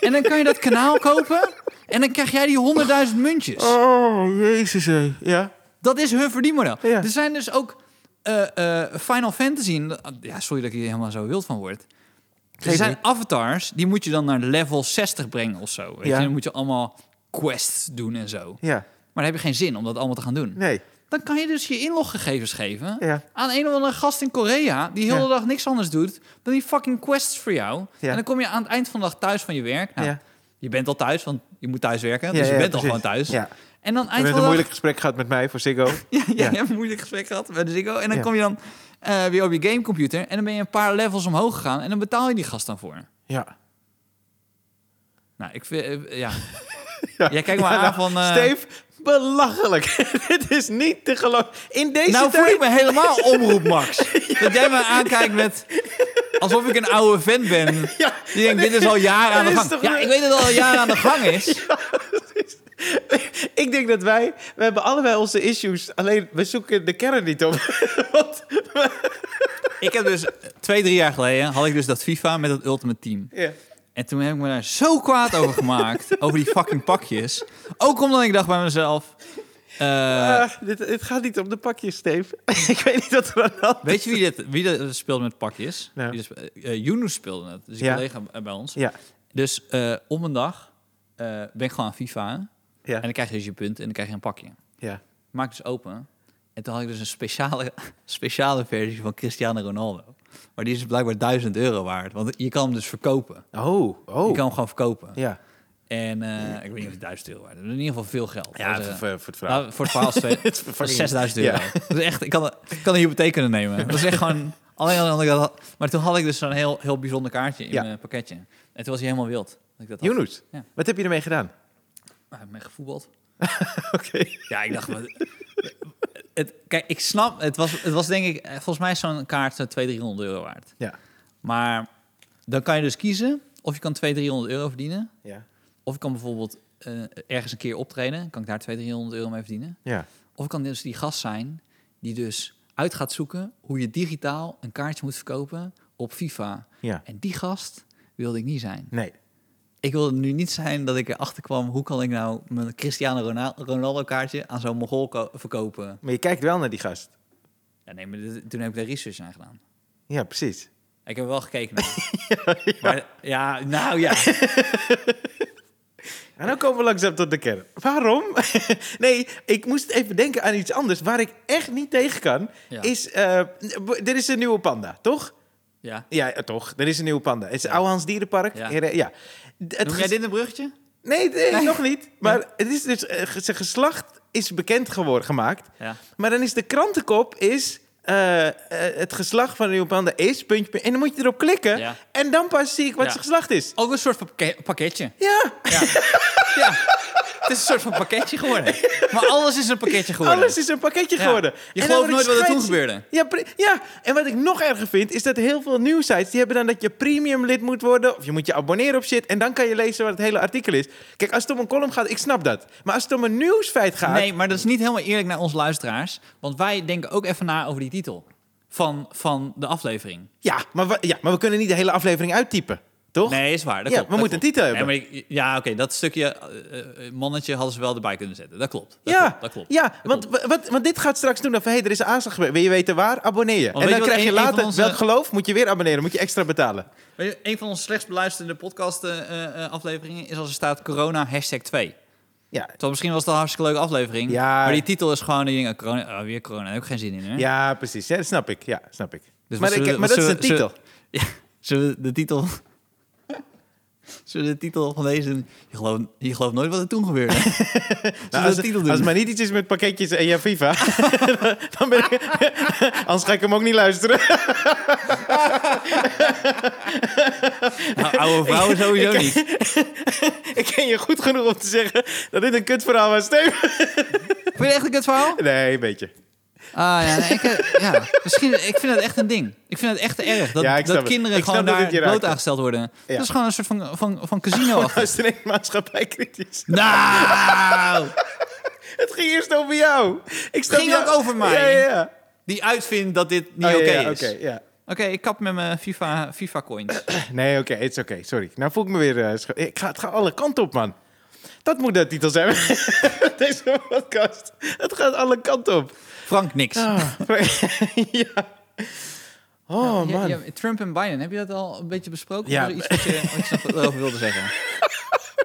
En dan kan je dat kanaal kopen. En dan krijg jij die 100.000 muntjes. Oh, jezus. hé. Ja. Dat is hun verdienmodel. Ja. Er zijn dus ook eh, eh, Final Fantasy. en- Ja, sorry dat ik hier helemaal zo wild van word. Er Geeft zijn niet. avatars, die moet je dan naar level 60 brengen of zo. Weet Ja. je? Dan moet je allemaal quests doen en zo. Ja. Maar dan heb je geen zin om dat allemaal te gaan doen. Nee. Dan kan je dus je inloggegevens geven Ja. aan een of andere gast in Korea... die heel de Ja. dag niks anders doet dan die fucking quests voor jou. Ja. En dan kom je aan het eind van de dag thuis van je werk. Nou, Ja. Je bent al thuis, want je moet thuis werken. Ja, dus je ja, bent al precies. gewoon thuis. Ja. En dan eind Je van hebt de een dag... moeilijk gesprek gehad met mij voor Ziggo. (laughs) Ja, ja, Ja. je hebt een moeilijk gesprek gehad met de Ziggo. En dan Ja. kom je dan eh, weer op je gamecomputer. En dan ben je een paar levels omhoog gegaan. En dan betaal je die gast dan voor. Ja. Nou, ik vind... eh, ja. ja. Jij kijkt me aan nou, van, eh, Steve, belachelijk. (laughs) Dit is niet te geloven. In deze nou voel tijd... ik me (laughs) helemaal omroep, Max. Dat jij me aankijkt met... Alsof ik een oude fan ben. Ja. Die denkt, dit is al (laughs) jaren aan de Dit is gang. toch Ja, wel- ik weet dat het al jaren aan de gang (laughs) is. Ik denk dat wij... We hebben allebei onze issues. Alleen, we zoeken de kern niet op. (laughs) Want... Ik heb dus... Twee, drie jaar geleden had ik dus dat FIFA met dat Ultimate Team. Ja. En toen heb ik me daar zo kwaad over (laughs) gemaakt. over die fucking pakjes. Ook omdat ik dacht bij (laughs) mezelf... eh, Ah, dit, dit gaat niet om de pakjes, Steve. (laughs) ik weet niet wat er aan de hand is. Weet je wie dit, wie dat speelde met pakjes? Nou. Wie dat spe- eh, Yunus speelde het, dus een Ja. collega b- bij ons. Ja, Dus eh om een dag eh, ben ik gewoon aan FIFA. En ja, dan krijg je dus je punten en dan krijg je een pakje. ja. (laughs) Maak dus open. En toen had ik dus een speciale, speciale versie van Cristiano Ronaldo. Maar die is blijkbaar 1000 euro waard. Want je kan hem dus verkopen. Oh, Je oh. kan hem gewoon verkopen. Ja, En eh, ik weet niet of het 1000 euro waard is. In ieder geval veel geld. ja Dus, voor, eh, voor- voor het verhaal. nou, voor het verhaal (laughs) is twee- Het is dat is fucking- 6000 euro. Ja. Dat is echt, ik kan, ik kan een hypotheek kunnen nemen. Dat is echt gewoon... Alleen al ik dat had. Maar toen had ik dus zo'n heel, heel bijzonder kaartje in Ja. mijn pakketje. En toen was hij helemaal wild. Dat ik dat had. Younes, Ja. wat heb je ermee gedaan? Maar Hij heeft mij gevoetbald. Oké. Ja, ik dacht... wat- het, kijk, ik snap... Het was, het was denk ik... eh, Volgens mij is zo'n kaart eh, 200, 300 euro waard. Ja. Maar dan kan je dus kiezen of je kan 200, 300 euro verdienen. Ja. Of ik kan bijvoorbeeld eh, ergens een keer optreden. Kan ik daar 200, 300 euro mee verdienen. Ja. Of ik kan dus die gast zijn die dus uit gaat zoeken hoe je digitaal een kaartje moet verkopen op FIFA. Ja. En die gast wilde ik niet zijn. Nee. Ik wilde nu niet zijn dat ik erachter kwam hoe kan ik nou mijn Cristiano Rona- Ronaldo kaartje aan zo'n Mogol ko- verkopen. Maar je kijkt wel naar die gast. Ja, nee, maar dit- toen heb ik daar research aan gedaan. Ja, precies. Ik heb er wel gekeken. (laughs) naar. Maar, ja, nou ja. En dan komen we langzaam tot de kern. Waarom? (laughs) nee, ik moest even denken aan iets anders. Waar ik echt niet tegen kan, Ja. is... eh, b- er is een nieuwe panda, toch? ja. Ja, eh, toch. Er is een nieuwe panda. Het is Ouwehans Dierenpark. Ja. Ja. ja. D- Het Noem jij ges- dit een bruggetje? Nee, nee, nog niet. Maar het is dus, eh, ge- zijn geslacht is bekend geworden, gemaakt. Ja. Maar dan is de krantenkop is... eh, eh, het geslacht van een nieuwe panda is... Puntje, puntje. en dan moet je erop klikken. Ja. En dan pas zie ik wat Ja. Oh. zijn geslacht is. Ook een soort van pakke- pakketje. Ja, Ja. ja. Het is een soort van pakketje geworden. Maar alles is een pakketje geworden. Alles is een pakketje Ja. geworden. Je En gelooft dan wordt nooit wat er toen scheids- gebeurde. Ja, pre- ja, en wat ik nog erger vind, is dat heel veel nieuwsites... die hebben dan dat je premium lid moet worden... of je moet je abonneren op shit... en dan kan je lezen wat het hele artikel is. Kijk, als het om een column gaat, ik snap dat. Maar als het om een nieuwsfeit gaat... Nee, maar dat is niet helemaal eerlijk naar onze luisteraars. Want wij denken ook even na over die titel van, van de aflevering. Ja, maar we, ja, maar we kunnen niet de hele aflevering uittypen, toch? Nee, is waar. Dat Ja, klopt, we dat moeten klopt. een titel Nee, maar ik- ja, oké, dat stukje eh, eh, mannetje hadden ze wel erbij kunnen zetten. Dat klopt. Dat ja, klopt, dat klopt. ja Dat want, klopt. wa- wat, want dit gaat straks doen. Dan van, hé, er is een aanslag gebeurd. Wil je weten waar? Abonneer je. weet en je dan wat krijg je een- een van later onze- welk geloof. Moet je weer abonneren. Moet je extra betalen. Weet je, een van onze slechts beluisterde podcast eh, eh, afleveringen is als er staat corona hashtag 2. Ja, Terwijl misschien was het een hartstikke leuke aflevering. Ja. Maar die titel is gewoon die ding, eh, corona, oh, weer corona, daar heb ik geen zin in. Hè? ja precies. Ja, dat snap ik. Ja, snap ik. maar Dus wat zullen ik- we- maar wat dat is een zullen we- titel. Ja, zullen we de titel... (laughs) Zullen we de titel van deze... Je gelooft, je gelooft nooit wat er (laughs) toen gebeurde. Zullen Nou, we als, de titel als doen? het maar niet iets is met pakketjes en ja, FIFA. (laughs) dan ben ik, (laughs) anders ga ik hem ook niet luisteren. (laughs) Nou, oude (laughs) vrouwen sowieso niet. ik ken je goed genoeg om te zeggen dat dit een kutverhaal was. Steven. Vind je het echt een kut verhaal? (laughs) Nee, een beetje. Ah ja, nee, ik, eh, ja, misschien. Ik vind het echt een ding. Ik vind het echt erg dat, Ja, ik snap dat het. kinderen Ik snap gewoon dat daar het je raakt. bloot aangesteld worden. Ja. Dat is gewoon een soort van, van, van casino. Gewoon als er maatschappij kritisch. nou, Het ging eerst over jou. Ik snap ging jou- ook over mij. Ja, ja, ja. die uitvindt dat dit niet Oh, ja, oké ja, is. Oké, ja. Oké, ik kap met mijn FIFA, FIFA coins. Nee, oké, het is oké. Sorry. Nou voel ik me weer... eh, scho- ik ga, het gaat alle kanten op, man. Dat moet de titel zijn. (laughs) Deze podcast. Het gaat alle kanten op. Frank, niks. Ah, (laughs) ja. Oh, Nou, Ja, man. ja, Trump en Biden, heb je dat al een beetje besproken? Ja. Of is er iets wat je, wat je (laughs) nog erover wilde zeggen?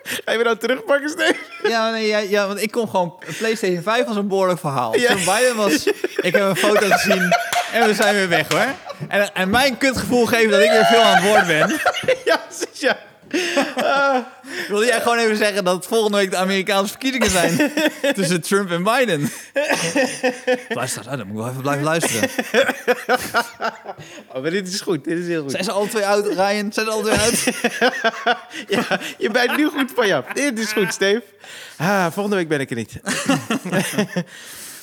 Ga je me nou terugpakken, Steve? Ja, nee, ja, ja, want ik kon gewoon... PlayStation 5 was een behoorlijk verhaal. Ja. Trump Biden was... Ik heb een foto gezien en we zijn weer weg, hoor. En, en mijn kutgevoel geeft dat ik weer veel aan het woord ben. (laughs) ja, precies, ja. Wilde jij gewoon even zeggen dat volgende week de Amerikaanse verkiezingen zijn... tussen Trump en Biden? Luister, ah, dan moet ik wel even blijven luisteren. Oh, maar dit is goed. Dit is heel goed. Zijn ze alle twee oud, Ryan? Zijn ze alle twee oud? Ja, je bent nu goed van je af. Dit is goed, Steve. Ah, volgende week ben ik er niet. (laughs)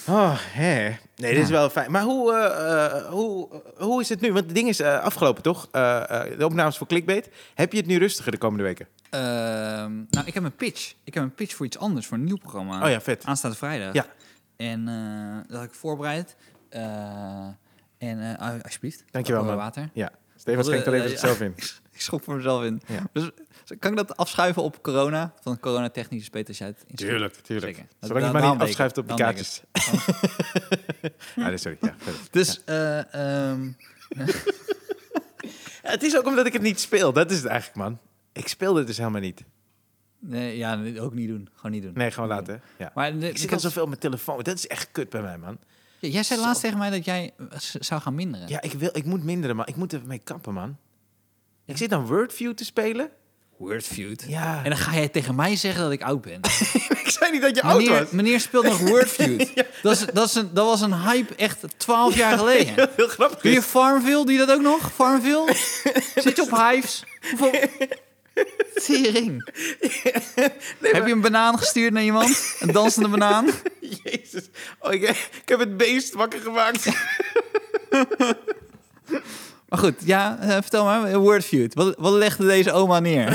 oh, hè. Nee, dit is wel fijn. Maar hoe, eh, eh, hoe, hoe is het nu? Want het ding is eh, afgelopen, toch? Eh, eh, de opnames voor Clickbait. Heb je het nu rustiger de komende weken? Ehm, nou, ik heb een pitch. Ik heb een pitch voor iets anders, voor een nieuw programma. Oh ja, vet. Aanstaande vrijdag. Ja. En eh, dat had ik voorbereid. Eh, en eh, ah, alsjeblieft. Dankjewel, Wat man. Water. (laughs) Ja. Stefan schenkt er even het zelf in. ik schop voor mezelf in. Ja. Dus kan ik dat afschuiven op corona? Van corona technisch is beter als jij het inschrijft. Tuurlijk, tuurlijk. Zeker. Dat- Zolang je het da- maar daarom niet deed ik afschuift het. op de Daarom deed ik kaartjes. (laughs) Ah, nee, sorry. Ja, verder. het. Dus, eh, ehm, Het is ook omdat ik het niet speel. Dat is het eigenlijk, man. Ik speel dit dus helemaal niet. nee, ja, nee, ook niet doen. Gewoon niet doen. Nee, gewoon laten. Ja. Maar de- Ik zit de- al zoveel op mijn telefoon. Dat is echt kut bij mij, man. Ja, jij zei laatst tegen mij dat jij eh, z- zou gaan minderen. Ja, ik, wil, ik moet minderen, maar ik moet ermee kappen, man. Ik zit aan Wordview te spelen. (laughs) Wordfeud. Ja. En dan ga jij tegen mij zeggen dat ik oud ben. ik zei niet dat je oud Meneer, was. meneer speelt (laughs) nog Wordfeud. dat, is, dat, is een, dat was een hype echt 12 (laughs) jaar geleden. Heel grappig. Doe je is- Farmville? Doe je dat ook nog? (laughs) Farmville? Zit je op hives? Hoeveel... Tering. Heb je een banaan gestuurd naar iemand? Een dansende banaan? Jezus. Oh, ik, ik heb het beest wakker gemaakt. (laughs) Maar goed, ja, eh, vertel maar. Wordfeud. Wat, wat legde deze oma neer?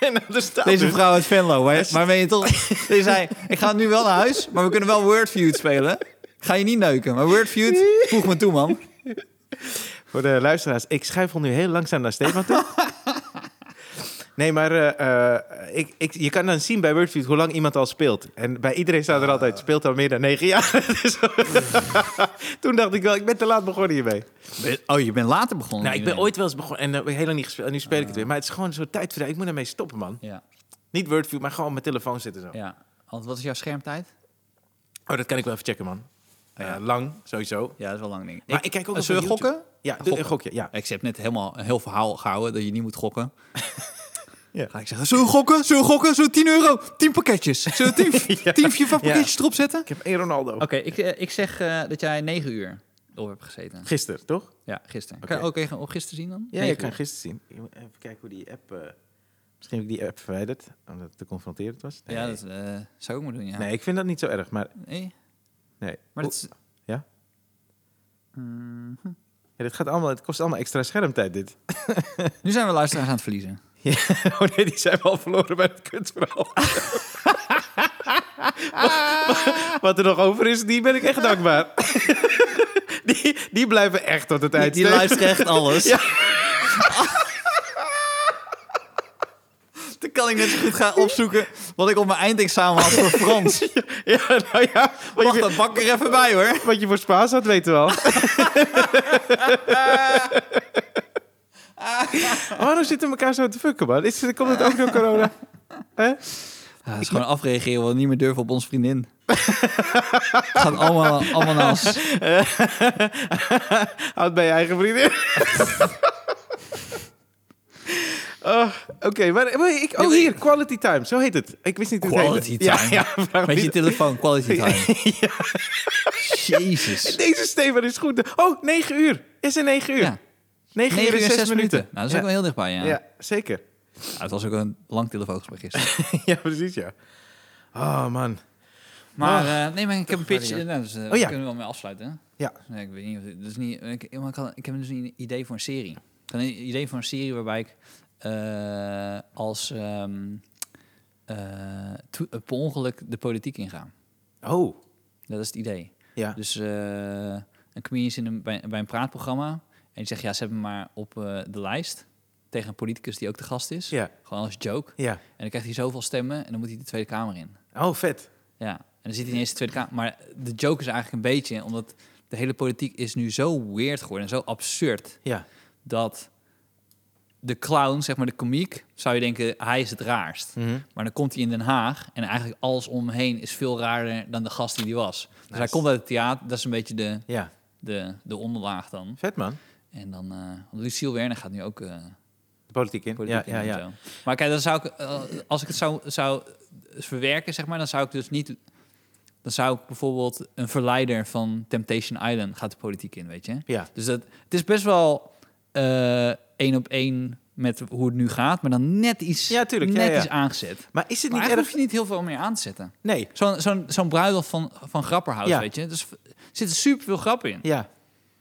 en er staat Deze dus- vrouw uit Venlo. Maar, maar ben je toch... Ze zei, ik ga nu wel naar huis, maar we kunnen wel Wordfeud spelen. Ga je niet neuken, maar Wordfeud, voeg me toe, man. Voor de luisteraars, ik schuif al nu heel langzaam naar Stefan toe. Nee, maar eh, eh, ik, ik, je kan dan zien bij Wordfeud hoe lang iemand al speelt. En bij iedereen staat er altijd, speelt al meer dan negen jaar. (laughs) Dus- toen dacht ik wel, ik ben te laat begonnen hiermee. Oh, je bent later begonnen. Nou, ik ben ooit wel eens begonnen en dat heb ik heel lang niet gespeeld. En nu speel ik het weer. Maar het is gewoon zo'n tijdverdrijf. Ik moet ermee stoppen, man. Ja, Niet Wordview, maar gewoon op mijn telefoon zitten zo. ja. Want wat is jouw schermtijd? Oh, dat kan ik wel even checken, man. Ja. Eh, lang, sowieso. Ja, dat is wel lang, denk ik. Eh, Maar ik kijk ook nog Zullen we op YouTube. gokken? Ja, doe een gokje. Ja. Ik heb net helemaal een heel verhaal gehouden dat je niet moet (laughs) gokken. Ja. Ga ik zeggen, zullen we gokken? Zullen we gokken? Zullen we 10 euro? 10 pakketjes. Zullen (laughs) we 10, Ja. 10 van Ja. pakketjes erop zetten? Ik heb één Ronaldo. Oké, ik, eh, ik zeg eh, dat jij 9 uur op hebt gezeten. Gisteren, toch? Ja, gisteren. Oké. Kan je ook even op gisteren zien dan? Ja, Negen je kan uur. gisteren zien. Ik moet Even kijken hoe die app... eh, misschien heb ik die app verwijderd, omdat het te confronterend was. Nee, Ja, dat eh, zou ik moeten doen, ja. nee ik vind dat niet zo erg, maar... Nee, Nee. maar dat is... Ja? Ja, dit gaat allemaal, het kost allemaal extra schermtijd, dit. (laughs) Nu zijn we luisteraars aan het verliezen. Ja, oh nee, die zijn we al verloren bij het (laughs) kunstverhaal. wat, wat er nog over is, die ben ik echt dankbaar. (laughs) die, die blijven echt tot het Die, eind. (laughs) die Steven. luistert (laughs) echt alles. Dan kan ik net zo goed gaan opzoeken wat ik op mijn eindexamen had (laughs) voor Frans. Ja, nou ja. Wat Wacht, je, dat bak ik er even bij hoor. wat je voor Spaans had, weten we al. (laughs) Waarom zitten we elkaar zo te fucken, man? Is, komt het ook door corona? Hè? Ja, is gewoon afreageren, want niet meer durven op onze (laughs) vriendin. Het gaat allemaal, allemaal naar (laughs) ons. Houd bij je eigen (laughs) vriendin. Oh, Oké, maar, maar ik, oh hier, Quality Time, zo heet het. Ik wist niet hoe het Quality heette. time. Ja, ja, vraag me Met je niet. telefoon, quality (laughs) time. (laughs) Jezus. (laughs) Deze Steven is goed. Oh, 9 uur. Is er 9 uur? Ja. 9, 9 uur en 6 minuten. Nou, dat is ja. ook wel heel dichtbij, ja. Ja, zeker. (laughs) Ja, het was ook een lang telefoongesprek (laughs) gisteren. ja, precies, ja. Oh, man. Maar, eh, nee, maar ik heb een pitch. Maria. eh, Nou, dus, eh, daar ja. kunnen we wel mee afsluiten. hè? Ja. Nee, ik weet niet. Dus niet ik, maar ik, had- ik heb dus een idee voor een serie. Ik had een idee voor een serie waarbij ik eh, als ehm, eh, to- eh, per ongeluk de politiek inga. Oh, Dat is het idee. ja. Dus eh, een comedian is in een, bij, bij een praatprogramma. En die zegt, ja, zet me maar op eh, de lijst. Tegen een politicus die ook te gast is. Ja. Gewoon als joke. ja. En dan krijgt hij zoveel stemmen en dan moet hij de Tweede Kamer in. Oh, vet. Ja, en dan zit hij ineens in de Tweede Kamer. Maar de joke is eigenlijk een beetje, omdat de hele politiek is nu zo weird geworden en zo absurd, Ja. dat de clown, zeg maar de komiek, zou je denken, hij is het raarst. Maar dan komt hij in Den Haag en eigenlijk alles om hem heen is veel raarder dan de gast die hij was. Dus hij komt uit het theater, dat is een beetje de, Ja. de, de onderlaag dan. Vet, man. En dan, eh, want Lucille Werner gaat nu ook... eh, De politiek in. politiek ja, in ja, en ja. zo. Maar kijk, dan zou ik, eh, als ik het zou, zou verwerken, zeg maar, dan zou ik dus niet... Dan zou ik bijvoorbeeld een verleider van Temptation Island gaat de politiek in, weet je? Ja. Dus dat, het is best wel eh, één op één met hoe het nu gaat, maar dan net iets, Ja, tuurlijk, ja, net ja. iets aangezet. Maar is het Maar niet eigenlijk erg? hoef je niet heel veel meer aan te zetten. Nee. Zo'n zo'n zo'n bruiloft van, van Grapperhaus, Ja. weet je? Dus er zitten super veel grappen in. Ja.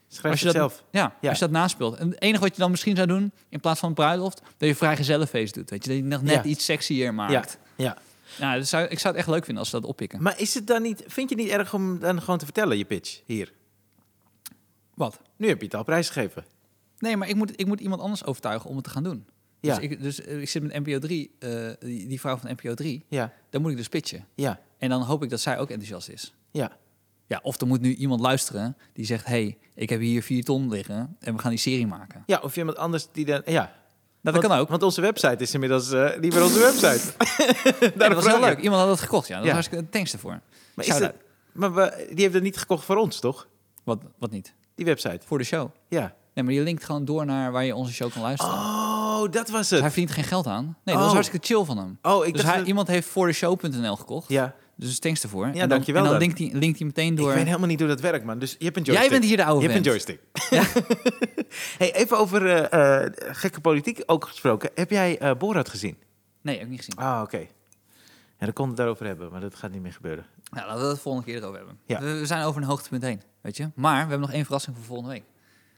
Schrijf Als je het dat, zelf. Ja, Ja. als je dat naspeelt. En het enige wat je dan misschien zou doen, in plaats van een bruiloft, dat je vrijgezellenfeest doet. Weet je, dat je nog Ja. net iets sexier Ja. maakt. ja. Nou, dat zou, ik zou het echt leuk vinden als ze dat oppikken. Maar is het dan niet, vind je het niet erg om dan gewoon te vertellen, je pitch, hier? Wat? Nu heb je het al prijsgegeven. Nee, maar ik moet, ik moet iemand anders overtuigen om het te gaan doen. Ja. Dus, ik, dus eh, ik zit met NPO 3, eh, die, die vrouw van NPO 3, Ja, daar moet ik dus pitchen. ja, En dan hoop ik dat zij ook enthousiast is. ja. Ja, of er moet nu iemand luisteren die zegt, hey, ik heb hier vier ton liggen en we gaan die serie maken. Ja, of iemand anders die dan, ja. Nou, dat Want- kan ook. Want onze website is inmiddels eh, niet meer onze website. (laughs) Ja, dat was vraag heel ik. leuk. Iemand had dat gekocht, ja. Dat Ja. was hartstikke thanks ervoor. Maar is het, Maar we- die hebben dat niet gekocht voor ons, toch? Wat, wat niet? Die website. Voor de show. Ja. Nee, maar die linkt gewoon door naar waar je onze show kan luisteren. Oh, dat was Dus hij het. verdient geen geld aan. Nee, dat Oh. was hartstikke chill van hem. Oh, ik dus dacht hij, dat- iemand heeft voor de show.nl gekocht. Ja. Dus thanks daarvoor. en dankjewel En dan. dan linkt hij, linkt hij meteen Ik door. weet helemaal niet hoe dat werkt, man. Dus je hebt een Jij joystick. bent hier de oude Je hebt een vent. joystick. (laughs) hey, even over eh, eh, gekke politiek ook gesproken. Heb jij eh, Borat gezien? Nee, heb ik niet gezien. Ah, oké. Ja, dan kon het daarover hebben, maar dat gaat niet meer gebeuren. Nou, laten we het volgende keer erover hebben. Ja. We, we zijn over een hoogtepunt heen, weet je. Maar we hebben nog één verrassing voor volgende week.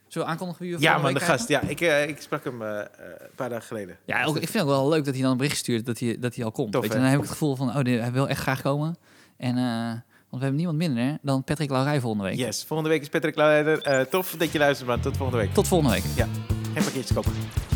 Zullen we aankondigen wie we Ja, man, volgende de week krijgen? gast. Ja, ik, eh, ik sprak hem eh, eh, een paar dagen geleden. Ja, ook, ik vind het wel leuk dat hij dan een bericht stuurt dat hij, dat hij al komt. Tof, weet je. hè? Dan heb ik het gevoel van, oh, die- hij wil echt graag komen. En, eh, want we hebben niemand minder dan Patrick Laurij volgende week. Yes, volgende week is Patrick Luijder. Eh tof dat je luistert, man. Tot volgende week. Tot volgende week. Ja, geen pakketjes kopen.